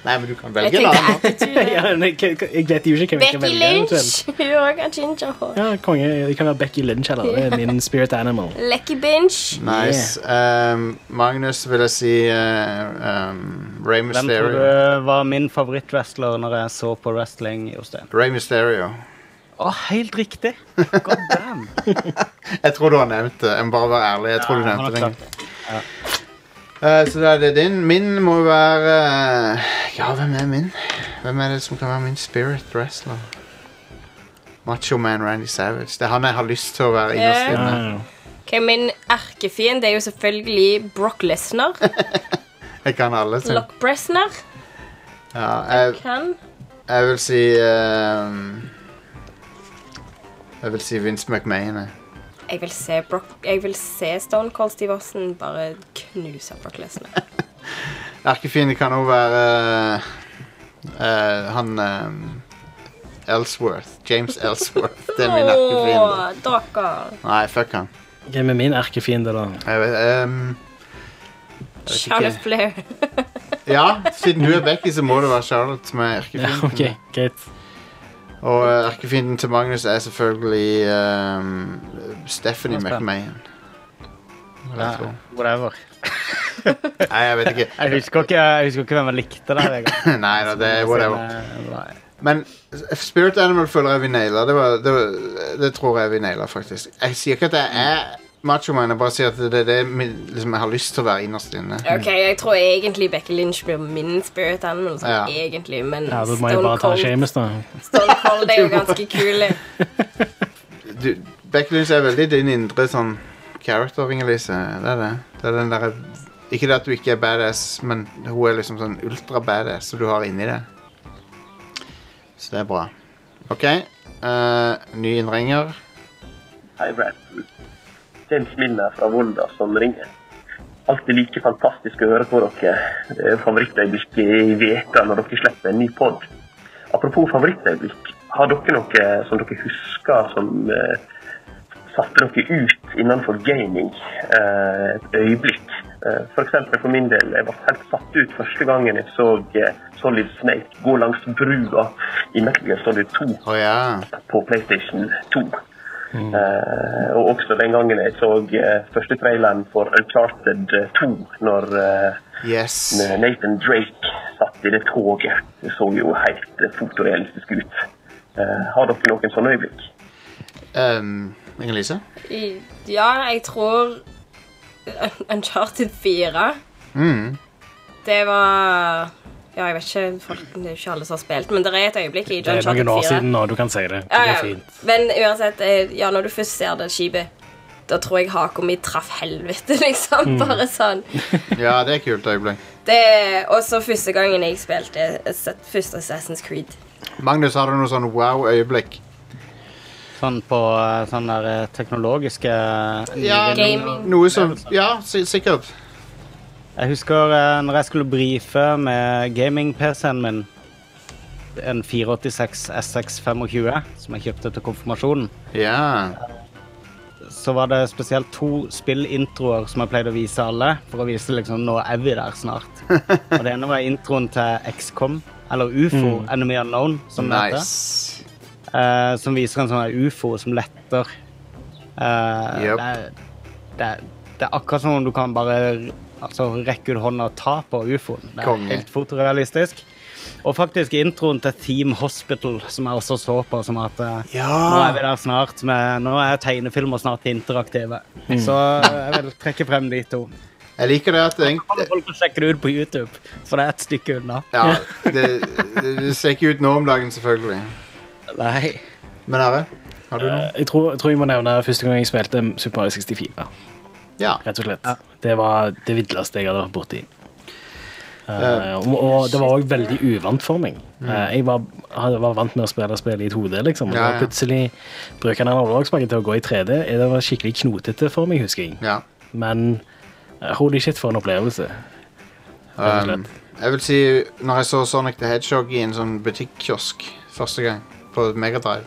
S1: Nei, men du kan
S3: Jeg
S1: velge en
S3: tenkte
S1: annen.
S3: attitude.
S2: Ja, men jeg, jeg vet jo ikke hvem jeg skal
S3: Becky
S2: velge. eventuelt.
S3: Lynch. Hun òg har gingerhår.
S2: Ja, konge. Det kan være Becky Lynch eller det er min spirit animal.
S3: Lecky Binch.
S1: Nice. Ehm, Magnus vil jeg si uh, um, Ray
S4: Hvem tror
S1: Mysterio.
S4: du var min favorittwrestler når jeg så på wrestling, Jostein?
S1: Ray Mysterio.
S4: Å, helt riktig! God damn!
S1: Jeg tror du har nevnt det. Jeg må bare være ærlig. Jeg tror du
S4: han
S1: nevnte
S4: har
S1: det. Eh, så da er det din. Min må være eh, Ja, hvem er min? Hvem er det som kan være min spirit wrestler? Macho Man Randy Savage. Det er han jeg har lyst til å være innerst
S2: Ja,
S1: inne.
S2: ja.
S3: Ok, Min erkefiende er jo selvfølgelig Brock Lesnar.
S1: Jeg kan alle. så-
S3: Lock Bresnar.
S1: Ja, jeg,
S3: Kan.
S1: jeg vil si ehm, Jeg vil si Vince McMahon. jeg.
S3: Jeg vil se Brock Jeg vil se Stone Cold Steve Austin bare knuse Brock Lesnar.
S1: Erkefiende kan også være eh, han eh, Ellsworth. James Ellsworth. Det er min erkefiende.
S3: Åh, dere.
S1: Nei, fuck han.
S2: Hvem er min erkefiende, da?
S1: Jeg vet, ehm,
S3: Charlotte Blair.
S1: ja, siden du er Becky, så må det være Charlotte som er
S2: Ja,
S1: erkefienden.
S2: ok, greit.
S1: Og eh, erkefienden til Magnus er selvfølgelig ehm, Stephanie
S4: Hans Ben.
S1: McMahon. vil jeg tro.
S4: Whatever.
S1: Nei, jeg vet ikke.
S4: Jeg husker ikke, jeg husker ikke hvem jeg likte der. Jeg.
S1: Nei da, det er whatever.
S4: Nei.
S1: Men Spirit Animal føler jeg vi naila. Det, var, det, var- det tror jeg vi naila, faktisk. Jeg sier ikke at jeg er macho man, jeg bare sier at det er det min- liksom, jeg har lyst til å være innerst inne.
S3: Ok, Jeg tror egentlig Becky Lynch blir min spirit animal, sånn
S1: Ja.
S3: egentlig, men
S2: Ja, da må jeg
S3: Stone
S2: bare ta
S3: Cold-
S2: Shames, da.
S3: Stone Cold er jo ganske kul.
S1: Du, Backlunds er veldig din indre sånn character, Inger-Lise. Det er det. Det er den derre Ikke det at du ikke er badass, men hun er liksom sånn ultra-badass som du har inni deg. Så det er bra. OK. eh, ny innringer.
S9: Hei, Bradford. James Milner fra Volda som ringer. Alltid like fantastisk å høre på dere. Eh, Favorittøyeblikk i veka når dere slipper en ny pod. Apropos favorittøyeblikk, har dere noe som dere husker som eh, satte dere ut innenfor gaming eh, et øyeblikk? Eh, for eksempel for min del, jeg ble helt satt ut første gangen jeg så eh, Solid Snake gå langs brua i Metal Gear Solid 2
S1: Å ja.
S9: på PlayStation 2. Eh, og også den gangen jeg så eh, første traileren for Uncharted 2, når eh,
S1: Yes.
S9: Nathan Drake satt i det toget. Det så jo helt eh, fotorealistisk ut. Eh, har dere noen sånne øyeblikk?
S1: Um, Inger-Lise?
S3: I- Ja, jeg tror Un- Uncharted 4
S1: Mm.
S3: Det var Ja, jeg vet ikke, folk, det er jo ikke alle som har spilt, men det er et øyeblikk i
S2: Det er
S3: Uncharted 4.
S2: noen år siden nå, du kan si det. Det
S3: Ja,
S2: er
S3: ja.
S2: fint.
S3: Men uansett, eh, ja, når du først ser det skipet, da tror jeg haka mi traff helvete,
S2: Mm.
S3: liksom. Bare sånn.
S1: Ja, det er kult øyeblikk.
S3: Det Og så første gangen jeg spilte Ass- første Assassin's Creed.
S1: Magnus, har du noe sånn wow-øyeblikk?
S4: Sånn på eh, sånn der eh, teknologiske eh,
S1: Ja,
S3: Gaming.
S1: Noe som Ja, si- sikkert.
S4: Jeg husker eh, når jeg skulle brife med gaming-PC-en min, en 486 SX25, som jeg kjøpte til konfirmasjonen,
S1: Ja.
S4: så var det spesielt to spillintroer som jeg pleide å vise alle, for å vise liksom nå er vi der snart. Og det ene var introen til XCOM, eller UFO, Enemy Unknown, som det heter.
S1: Nice.
S4: eh, som viser en sånn her ufo som letter. Eh,
S1: Yep.
S4: det, er- det, er- det er akkurat som om du kan bare altså, rekke ut hånda og ta på ufoen. Det er
S1: Konge.
S4: helt fotorealistisk. Og faktisk introen til Team Hospital, som jeg også så på som at eh, nå er vi der snart, med, nå er tegnefilmer snart interaktive.
S1: Mm.
S4: Så jeg vil trekke frem de to.
S1: Jeg liker det at det-
S4: Alle folk sjekker det ut på YouTube, for det er et stykke unna.
S1: Ja, det, det, det ser ikke ut nå om dagen, selvfølgelig.
S4: Nei.
S1: Men Are, har du noe?
S2: Eh, Jeg tror, jeg tror jeg må nevne første gang jeg spilte Super Mario 64.
S1: Ja.
S2: rett og slett. Det var det villeste jeg hadde vært borti. Eh, og, og det var òg veldig uvant for meg.
S1: Mm.
S2: Eh, jeg var, hadde- var vant med å spille spill i 2D, liksom. Og
S1: Ja,
S2: da
S1: ja.
S2: plutselig bruker han analogspaken til å gå i 3D. Eh, Det var skikkelig knotete for meg, husker jeg.
S1: ja.
S2: Men eh, holy shit, for en opplevelse. Rett og
S1: Um,
S2: slett.
S1: jeg vil si, når jeg så Sonic the Hedgehog i en sånn butikkiosk første gang, på Megadrive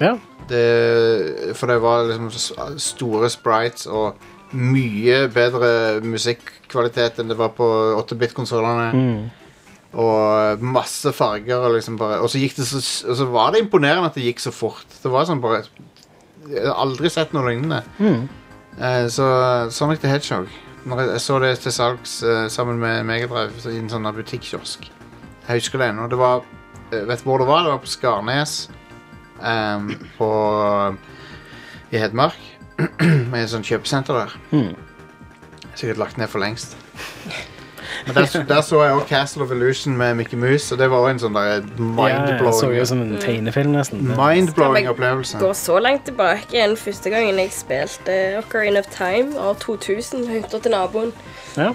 S2: Ja.
S1: det, For det var liksom s- store sprites og mye bedre musikkvalitet enn det var på 8-bit-konsollene.
S2: Mm.
S1: Og masse farger og liksom bare Og så gikk det så s- Og så var det imponerende at det gikk så fort. Det var sånn bare Jeg har aldri sett noe lignende. Eh, så Sonic the Hedgehog Når jeg, jeg så det til salgs eh, sammen med Megadrive så i en sånn her butikkiosk. Jeg husker det ennå. Det var eh, Vet du hvor det var? Det var på Skarnes. ehm, på I Hedmark. Med et sånt kjøpesenter der.
S2: Hmm.
S1: Sikkert lagt ned for lengst. Men der, der så jeg også Castle of Illusion med Mickey Mouse, og det var også en sånn der
S2: ja, jeg så jo
S1: mindblowing
S2: sånn- som
S3: Mm.
S2: en tegnefilm,
S1: Mm.
S2: nesten.
S1: Mindblowing opplevelse.
S3: Går så langt tilbake igjen første gangen jeg spilte Ocarina of Time år 2000. Hytta til naboen.
S2: Ja.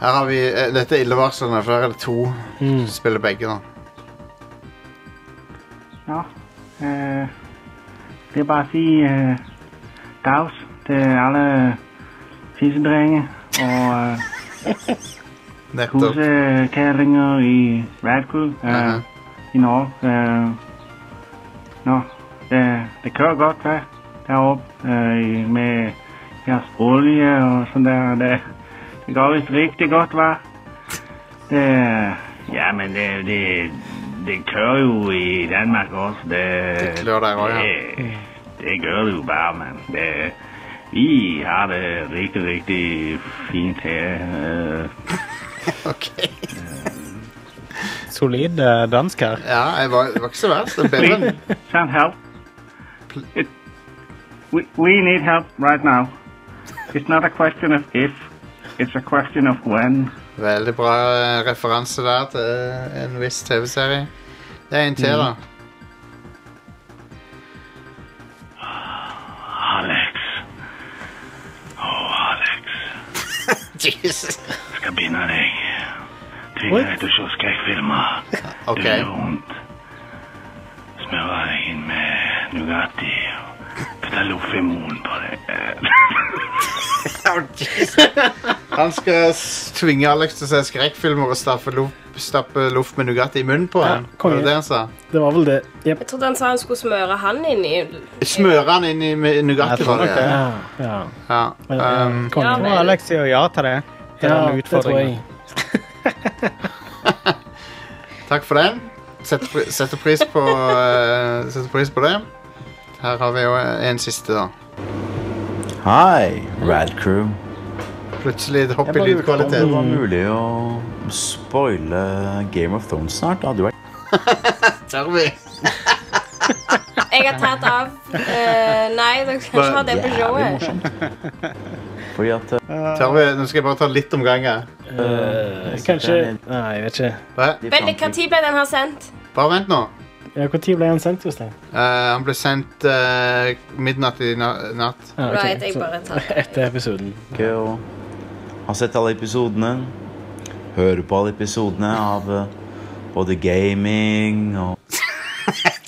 S1: Her har vi, eh, Dette er illevarslende, for her er det to som spiller begge. da
S10: Nå, øh, det er bare at sige øh, dags til alle fisedrenge og øh,
S1: Nettopp.
S10: husekæringer i Radkud øh,
S1: Aha.
S10: i Norge. Øh, nå, øh, det kører godt, hvad? Deroppe øh, i- med jeres olie og sådan der. og Det, det går vist rigtig godt, hva'? Det, ja, men det, det, det kører jo i Danmark også. Det,
S1: Det klør der også, ja.
S10: det, det gør det jo bare, mand. Det, Vi har det rigtig, rigtig fint her. Øh,
S1: Okay.
S4: Solid eh, dansk her.
S1: Ja, jeg var, det var ikke så verst. Det er bedre enn
S10: Some help. It, we, we need help right now. It's not a question of if, it's a question of when.
S1: Veldig bra eh, referanse der til eh, en viss TV-serie. Det er en til, da.
S10: Alex. Oh, Alex.
S1: Jesus.
S10: Jeg skal binde deg.
S2: Oi.
S10: Tvinge deg til å se skrekkfilmer.
S1: OK.
S10: Det gjør vondt. Smøre deg inn med Nugatti. Putte Lofemon på deg.
S1: Han skal s- tvinge Alex til å se skrekkfilmer og stappe loff, stappe loff med Nugatti i munnen på
S2: Ja,
S1: ham.
S2: konge.
S1: det var det han sa.
S2: Det var vel det. Jep.
S3: Jeg trodde han sa han skulle smøre han inn i
S1: Smøre han inn i med Nugatti.
S4: Jeg tror
S1: var det,
S4: nok det.
S1: ja.
S2: Ja, ja. Men,
S1: Ja,
S2: ja,
S1: um,
S2: konge.
S3: Ja,
S4: Nå
S3: men-
S4: har Alex sier ja til det. Til
S2: Ja,
S4: denne
S2: det tror jeg.
S4: utfordringen.
S1: takk for den. Setter, pri setter, pris på, eh, setter pris på det. Her har vi jo en siste, da.
S11: Hei, Rad Crew.
S1: Plutselig et hopp
S11: Jeg
S1: i
S11: bare lurte på om det
S1: lydkvaliteten.
S11: var mulig å spoile Game of Thrones snart. Det hadde jo vært
S1: Tør vi?
S3: Jeg har tatt av. Eh, nei, dere skal ikke ha det på
S11: jævlig
S3: showet.
S11: morsomt. Fordi at eh,
S1: Tør vi? Nå skal jeg bare ta litt om gangen.
S2: Eh, kanskje Nei, jeg vet ikke.
S1: Hva?
S11: de
S3: Vent,
S11: fant
S3: hva
S11: ut-
S3: tid ble den her sendt?
S1: Bare vent nå.
S2: Ja, Når ble han sendt, Jostein?
S1: Eh, han ble sendt eh, midnatt i na natt.
S2: Ah, ok,
S3: Right, jeg
S2: så-
S3: bare tar det.
S2: Etter episoden.
S11: ikke å ha sett alle episodene. Høre på alle episodene av eh, både gaming og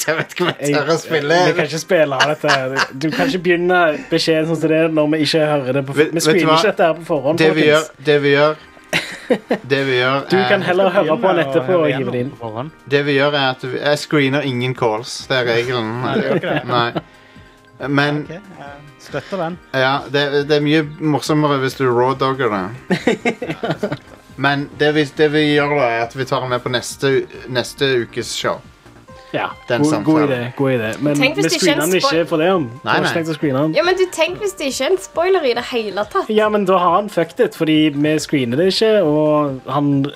S1: Jeg vet ikke om jeg tør å spille.
S2: Vi kan ikke spille av dette. Du kan ikke begynne beskjeden sånn som det er når vi ikke hører det. På,
S1: Vet- vet
S2: vi
S1: du
S2: screener
S1: hva?
S2: ikke dette her på forhånd.
S1: Det vi
S2: folkens.
S1: gjør, det vi gjør Det vi gjør,
S2: Du kan
S1: er,
S2: heller høre på den etterpå og
S4: Høre
S2: hive det inn.
S4: gjennom på forhånd.
S1: det vi gjør er at vi- jeg screener ingen calls. Det er regelen.
S4: Nei, det gjør ikke det.
S1: Nei. Men
S4: Ok, jeg Støtter den.
S1: ja, det, det er mye morsommere hvis du rawdogger det. Men det vi, det vi gjør, da, er at vi tar den med på neste, neste ukes show.
S2: Ja,
S1: Den
S2: god, god
S1: samtalen.
S2: idé. god idé Men
S3: Tenk hvis
S2: vi
S3: det ikke
S2: screener
S3: er en
S2: den ikke
S3: spoil-
S2: for det om.
S1: Nei,
S2: Vi har ikke
S1: nei.
S2: tenkt å screene den.
S3: Ja, men du Tenk hvis det ikke er en spoiler i det hele tatt.
S2: Ja, men da har han fucked it, fordi vi screener det ikke, og han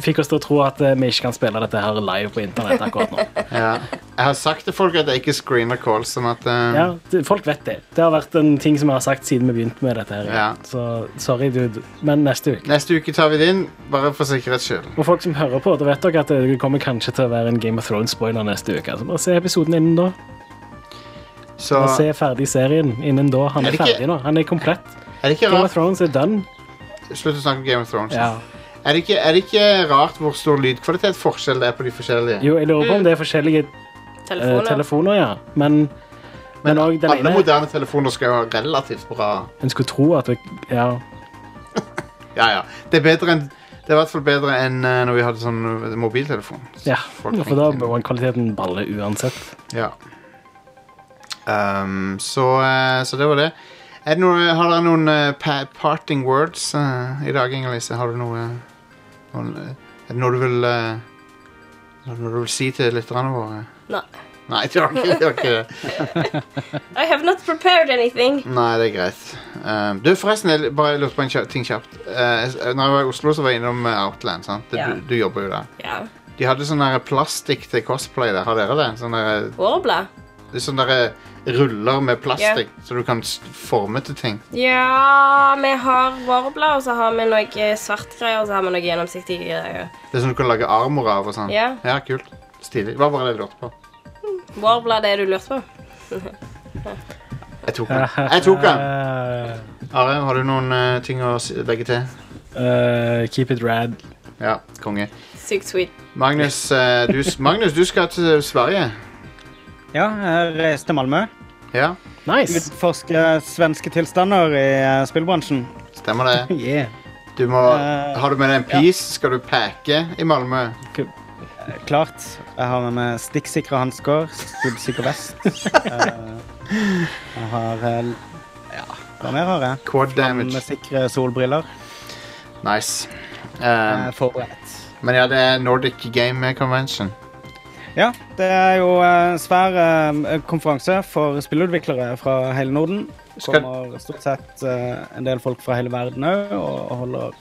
S2: fikk oss til å tro at eh, vi ikke kan spille dette her live på internett akkurat nå.
S1: Ja. Jeg har sagt til folk at jeg ikke screener calls, sånn at eh,
S2: Ja, det, folk vet det. Det har vært en ting som jeg har sagt siden vi begynte med dette her.
S1: Ja.
S2: Så sorry, dude. Men neste uke.
S1: Neste uke tar vi det inn, bare for sikkerhets skyld.
S2: Og folk som hører på, da vet dere at det kommer kanskje til å være en Game of Thrones-spoiler neste uke. Så bare se episoden innen da.
S1: Så
S2: Bare se ferdig serien innen da. Han
S1: Er
S2: er,
S1: det ikke-
S2: ferdig nå. Han er komplett.
S1: er det ikke
S2: Game of
S1: rart
S2: Thrones er done.
S1: Slutt å snakke om Game of Thrones.
S2: Ja.
S1: Er, det ikke, er det ikke rart hvor stor lydkvalitetsforskjell det er på de forskjellige?
S2: Jo, jeg lurer på om det er forskjellige eh,
S3: Telefoner.
S2: telefoner, ja. Men, men, også den
S1: Alle
S2: ene
S1: moderne telefoner skal jo ha relativt bra
S2: En skulle tro at det, ja.
S1: Ja, ja. Det er bedre enn Det er i hvert fall bedre enn eh, når vi hadde sånn eh, mobiltelefon.
S2: ja.
S1: Folk
S2: For da
S1: tenkte-
S2: var kvaliteten balle uansett.
S1: Ja. Ehm, så, eh, så det var det. Er det noe, har dere noen eh, pa parting words eh, i dag, Inger-Lise? Har du noe, noen, eh, Er det noe du vil eh, er det noe du vil si til lytterne våre?
S3: Nei.
S1: Nei, det var ikke, det var ikke det.
S3: I have not prepared anything.
S1: Nei, det er greit. Ehm, du, forresten, jeg bare lurte på en kja- ting kjapt. Uh, når jeg var i Oslo, så var jeg innom eh, Outland. sant? Det,
S3: Ja.
S1: du, du jobber jo der.
S3: Ja.
S1: De hadde sånn der plastikk til cosplay der. Har dere det? Sånn der,
S3: Warblad.
S1: det er sånn der ruller med plastikk, så du kan s- forme til ting.
S3: Ja, vi har warbler, og så har vi noe eh, svart greier, og så har vi noe gjennomsiktige greier.
S1: Det er sånn du kan lage armor av og sånn.
S3: Ja.
S1: ja, kult. Stilig. Hva var det jeg lurte på?
S3: Warbler, det er du lurt på?
S1: Jeg tok den. Jeg tok den.
S4: Eh,
S1: Are, har du noen eh, ting å si- legge til?
S2: Eh, keep it rad.
S1: Ja, konge.
S3: Sykt sweet.
S1: Magnus, eh, du, s- Magnus, du skal til Sverige.
S4: Ja, jeg reiste til Malmö.
S1: Ja,
S2: Nice.
S4: Utforske svenske tilstander i eh, spillbransjen.
S1: stemmer det.
S2: Yeah.
S1: Du må,
S4: Eh,
S1: har du med deg en piece? Skal du pakke i Malmö?
S4: Eh, Klart. Jeg har med meg stikksikre hansker, skuddsikker vest. Eh, Jeg har eh, Ja, hva mer har jeg?
S1: Quad damage.
S4: Med sikre solbriller.
S1: Nice.
S4: Jeg
S1: Eh,
S4: er forberedt.
S1: men ja, det er Nordic Game Convention.
S4: Ja, eh, det er jo en svær eh, konferanse for spillutviklere fra hele Norden.
S1: Skal-
S4: kommer stort sett eh, en del folk fra hele verden òg og og holder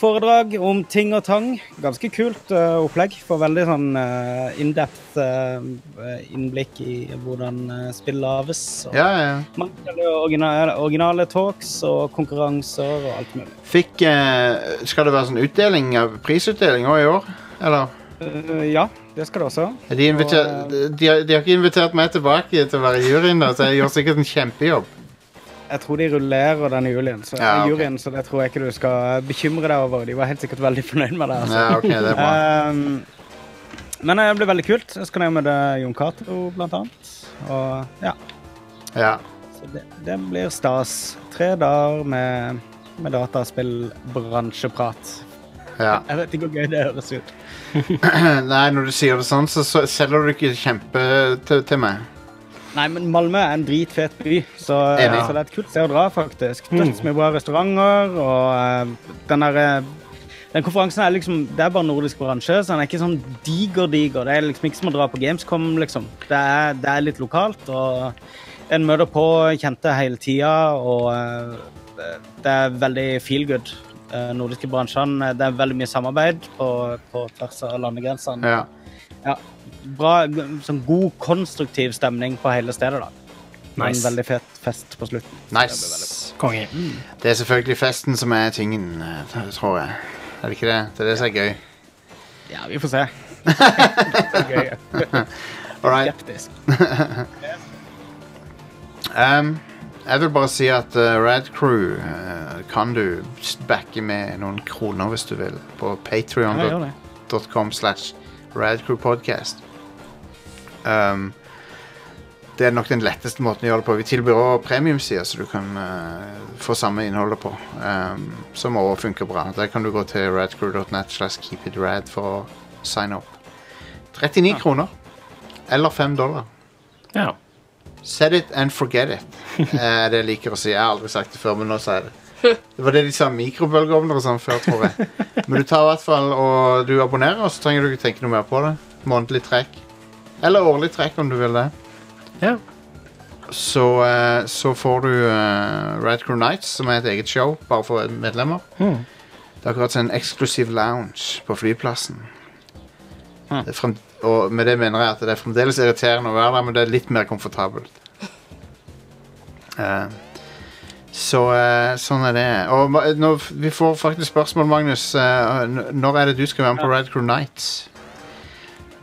S4: foredrag om ting og tang. Ganske kult eh, opplegg. Får veldig sånn uh, in-depth eh, innblikk i hvordan eh, spill lages. og Mange originale, originale talks og konkurranser og alt mulig.
S1: Fikk eh, Skal det være sånn utdeling av prisutdeling også i år? Eller?
S4: Eh, ja, det skal det også.
S1: Er De, inviter,
S4: Og,
S1: de, de har- de har ikke invitert meg tilbake til å være i juryen, da, så jeg gjør sikkert en kjempejobb.
S4: eh, jeg tror de rullerer den juryen, så,
S1: Ja, ok.
S4: juryen, så det tror jeg ikke du skal bekymre deg over. De var helt sikkert veldig fornøyd med det. Altså.
S1: Ja, ok, det er bra.
S4: Ehm, men eh, det ble veldig kult. Så kan jeg møte Jon Cato, blant annet. Og ja.
S1: Ja.
S4: Så det, det blir stas. Tre dager med, med dataspillbransjeprat.
S1: Ja.
S4: Jeg vet ikke hvor gøy det høres ut.
S1: Nei, når du sier det sånn, så, så selger du ikke kjempe til, til meg.
S4: Nei, men Malmö er en dritfet by, så,
S1: Enig.
S4: så det er et kult sted å dra, faktisk. Dødsmye bra restauranter, og eh, den der eh, Den konferansen er liksom Det er bare nordisk bransje, så den er ikke sånn diger-diger. Det er liksom ikke som å dra på Gamescom, liksom. Det er, det er litt lokalt, og en møter på kjente hele tida, og eh, det er veldig feel good. eh, nordiske bransjene. Det er veldig mye samarbeid på, på tvers av landegrensene.
S1: Ja.
S4: Ja, bra, g- sånn god, konstruktiv stemning på hele stedet, da. Og
S1: Nice.
S4: En veldig fet fest på slutten.
S1: Nice.
S2: Konge.
S1: Det er selvfølgelig festen som er tingen, eh, tror jeg. Er det ikke det? Det er det som er gøy.
S4: Ja, vi får se. Det er gøy, ja.
S1: All right.
S4: Skeptisk.
S1: um, jeg vil bare si at eh, Rad Crew eh, kan du s- backe med noen kroner hvis du vil på
S4: Ja, gjør det.
S1: patreon.com slash radcrewpodcast. Um, det er nok den letteste måten å gjøre det på. Vi tilbyr også premiumsider, så du kan eh, få samme innholdet på. Um, som også funker bra. Der kan du gå til radcrew.net slash keepitrad for å signe opp. 39 kroner. Eller 5 dollar.
S2: Ja.
S1: Set it and forget it. Eh, det liker jeg å si. Jeg har aldri sagt det før, men nå sier jeg det. Det var det de sa om mikrobølgeovner og sånn før, tror jeg. Men du tar i hvert fall og du abonnerer, og så trenger du ikke tenke noe mer på det. Månedlig trekk. Eller årlig trekk, om du vil det.
S2: Ja.
S1: Så, eh, så får du eh, Rad Crew Nights, som er et eget show, bare for medlemmer.
S2: Mm.
S1: Det er akkurat som en eksklusiv lounge på flyplassen. Det er frem, og med det mener jeg at det er fremdeles irriterende å være der, men det er litt mer komfortabelt. Eh, så eh, sånn er det. Og ma- nå, f- vi får faktisk spørsmål, Magnus. eh, n- når er det du skal være med på Red Crew Nights?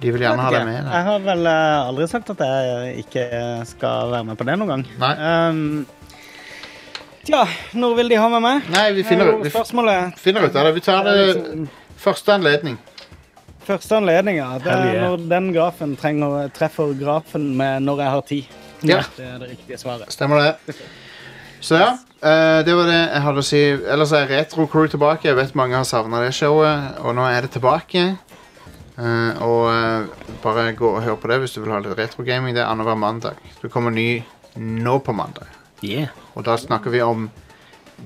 S1: De vil gjerne ha deg med. Da.
S4: Jeg har vel eh, aldri sagt at jeg ikke skal være med på det noen gang. Ehm, Tja, når vil de ha med meg?
S1: Nei, vi finner ut- vi f-
S4: Spørsmålet
S1: Finner ut av det. Vi tar det første anledning.
S4: Første anledning, ja. Det
S1: Hell
S4: er
S1: yeah.
S4: når den grafen trenger, treffer grafen med når jeg har tid.
S1: Ja.
S4: Det er det riktige svaret.
S1: Stemmer det. Så ja, eh, det var det jeg hadde å si. Ellers er Retro Crew tilbake. Jeg vet mange har savna det showet, og nå er det tilbake. Eh, og eh, bare gå og hør på det hvis du vil ha litt retrogaming. Det er annenhver mandag. Det kommer ny nå på mandag. Og da snakker vi om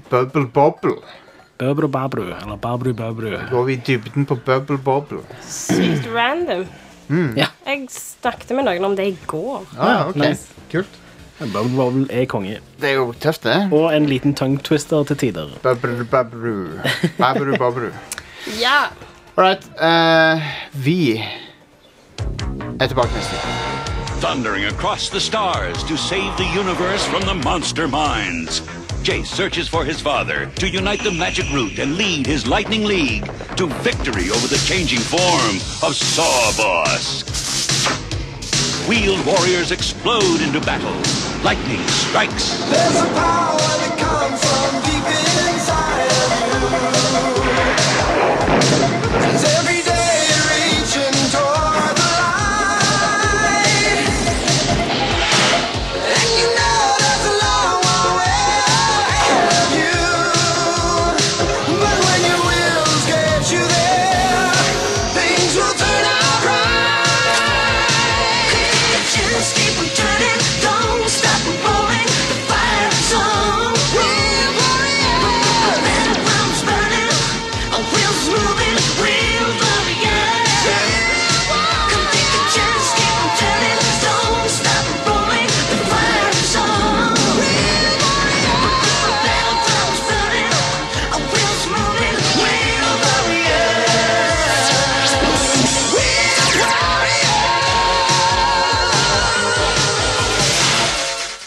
S1: Bubble Bobble.
S2: Bøbru babru, eller babru bøbru.
S1: Går vi i dybden på Bubble Bobble?
S3: Sykt random.
S1: Mm.
S3: Jeg snakket med noen om det i går.
S1: Ah, ok.
S2: Nice.
S1: Kult.
S2: Bubble Bobble er konge.
S1: Det er jo tøft, det.
S2: Og en liten tongue twister til tider.
S1: Bubble babru. Babru babru.
S3: Ja.
S1: All right. eh, vi er tilbake neste uke.
S5: Thundering across the stars to save the universe from the monster minds. Jace searches for his father to unite the magic root and lead his Lightning League to victory over the changing form of Saw Boss. Wheeled warriors explode into battle. Lightning strikes.
S12: There's a power that comes from deep in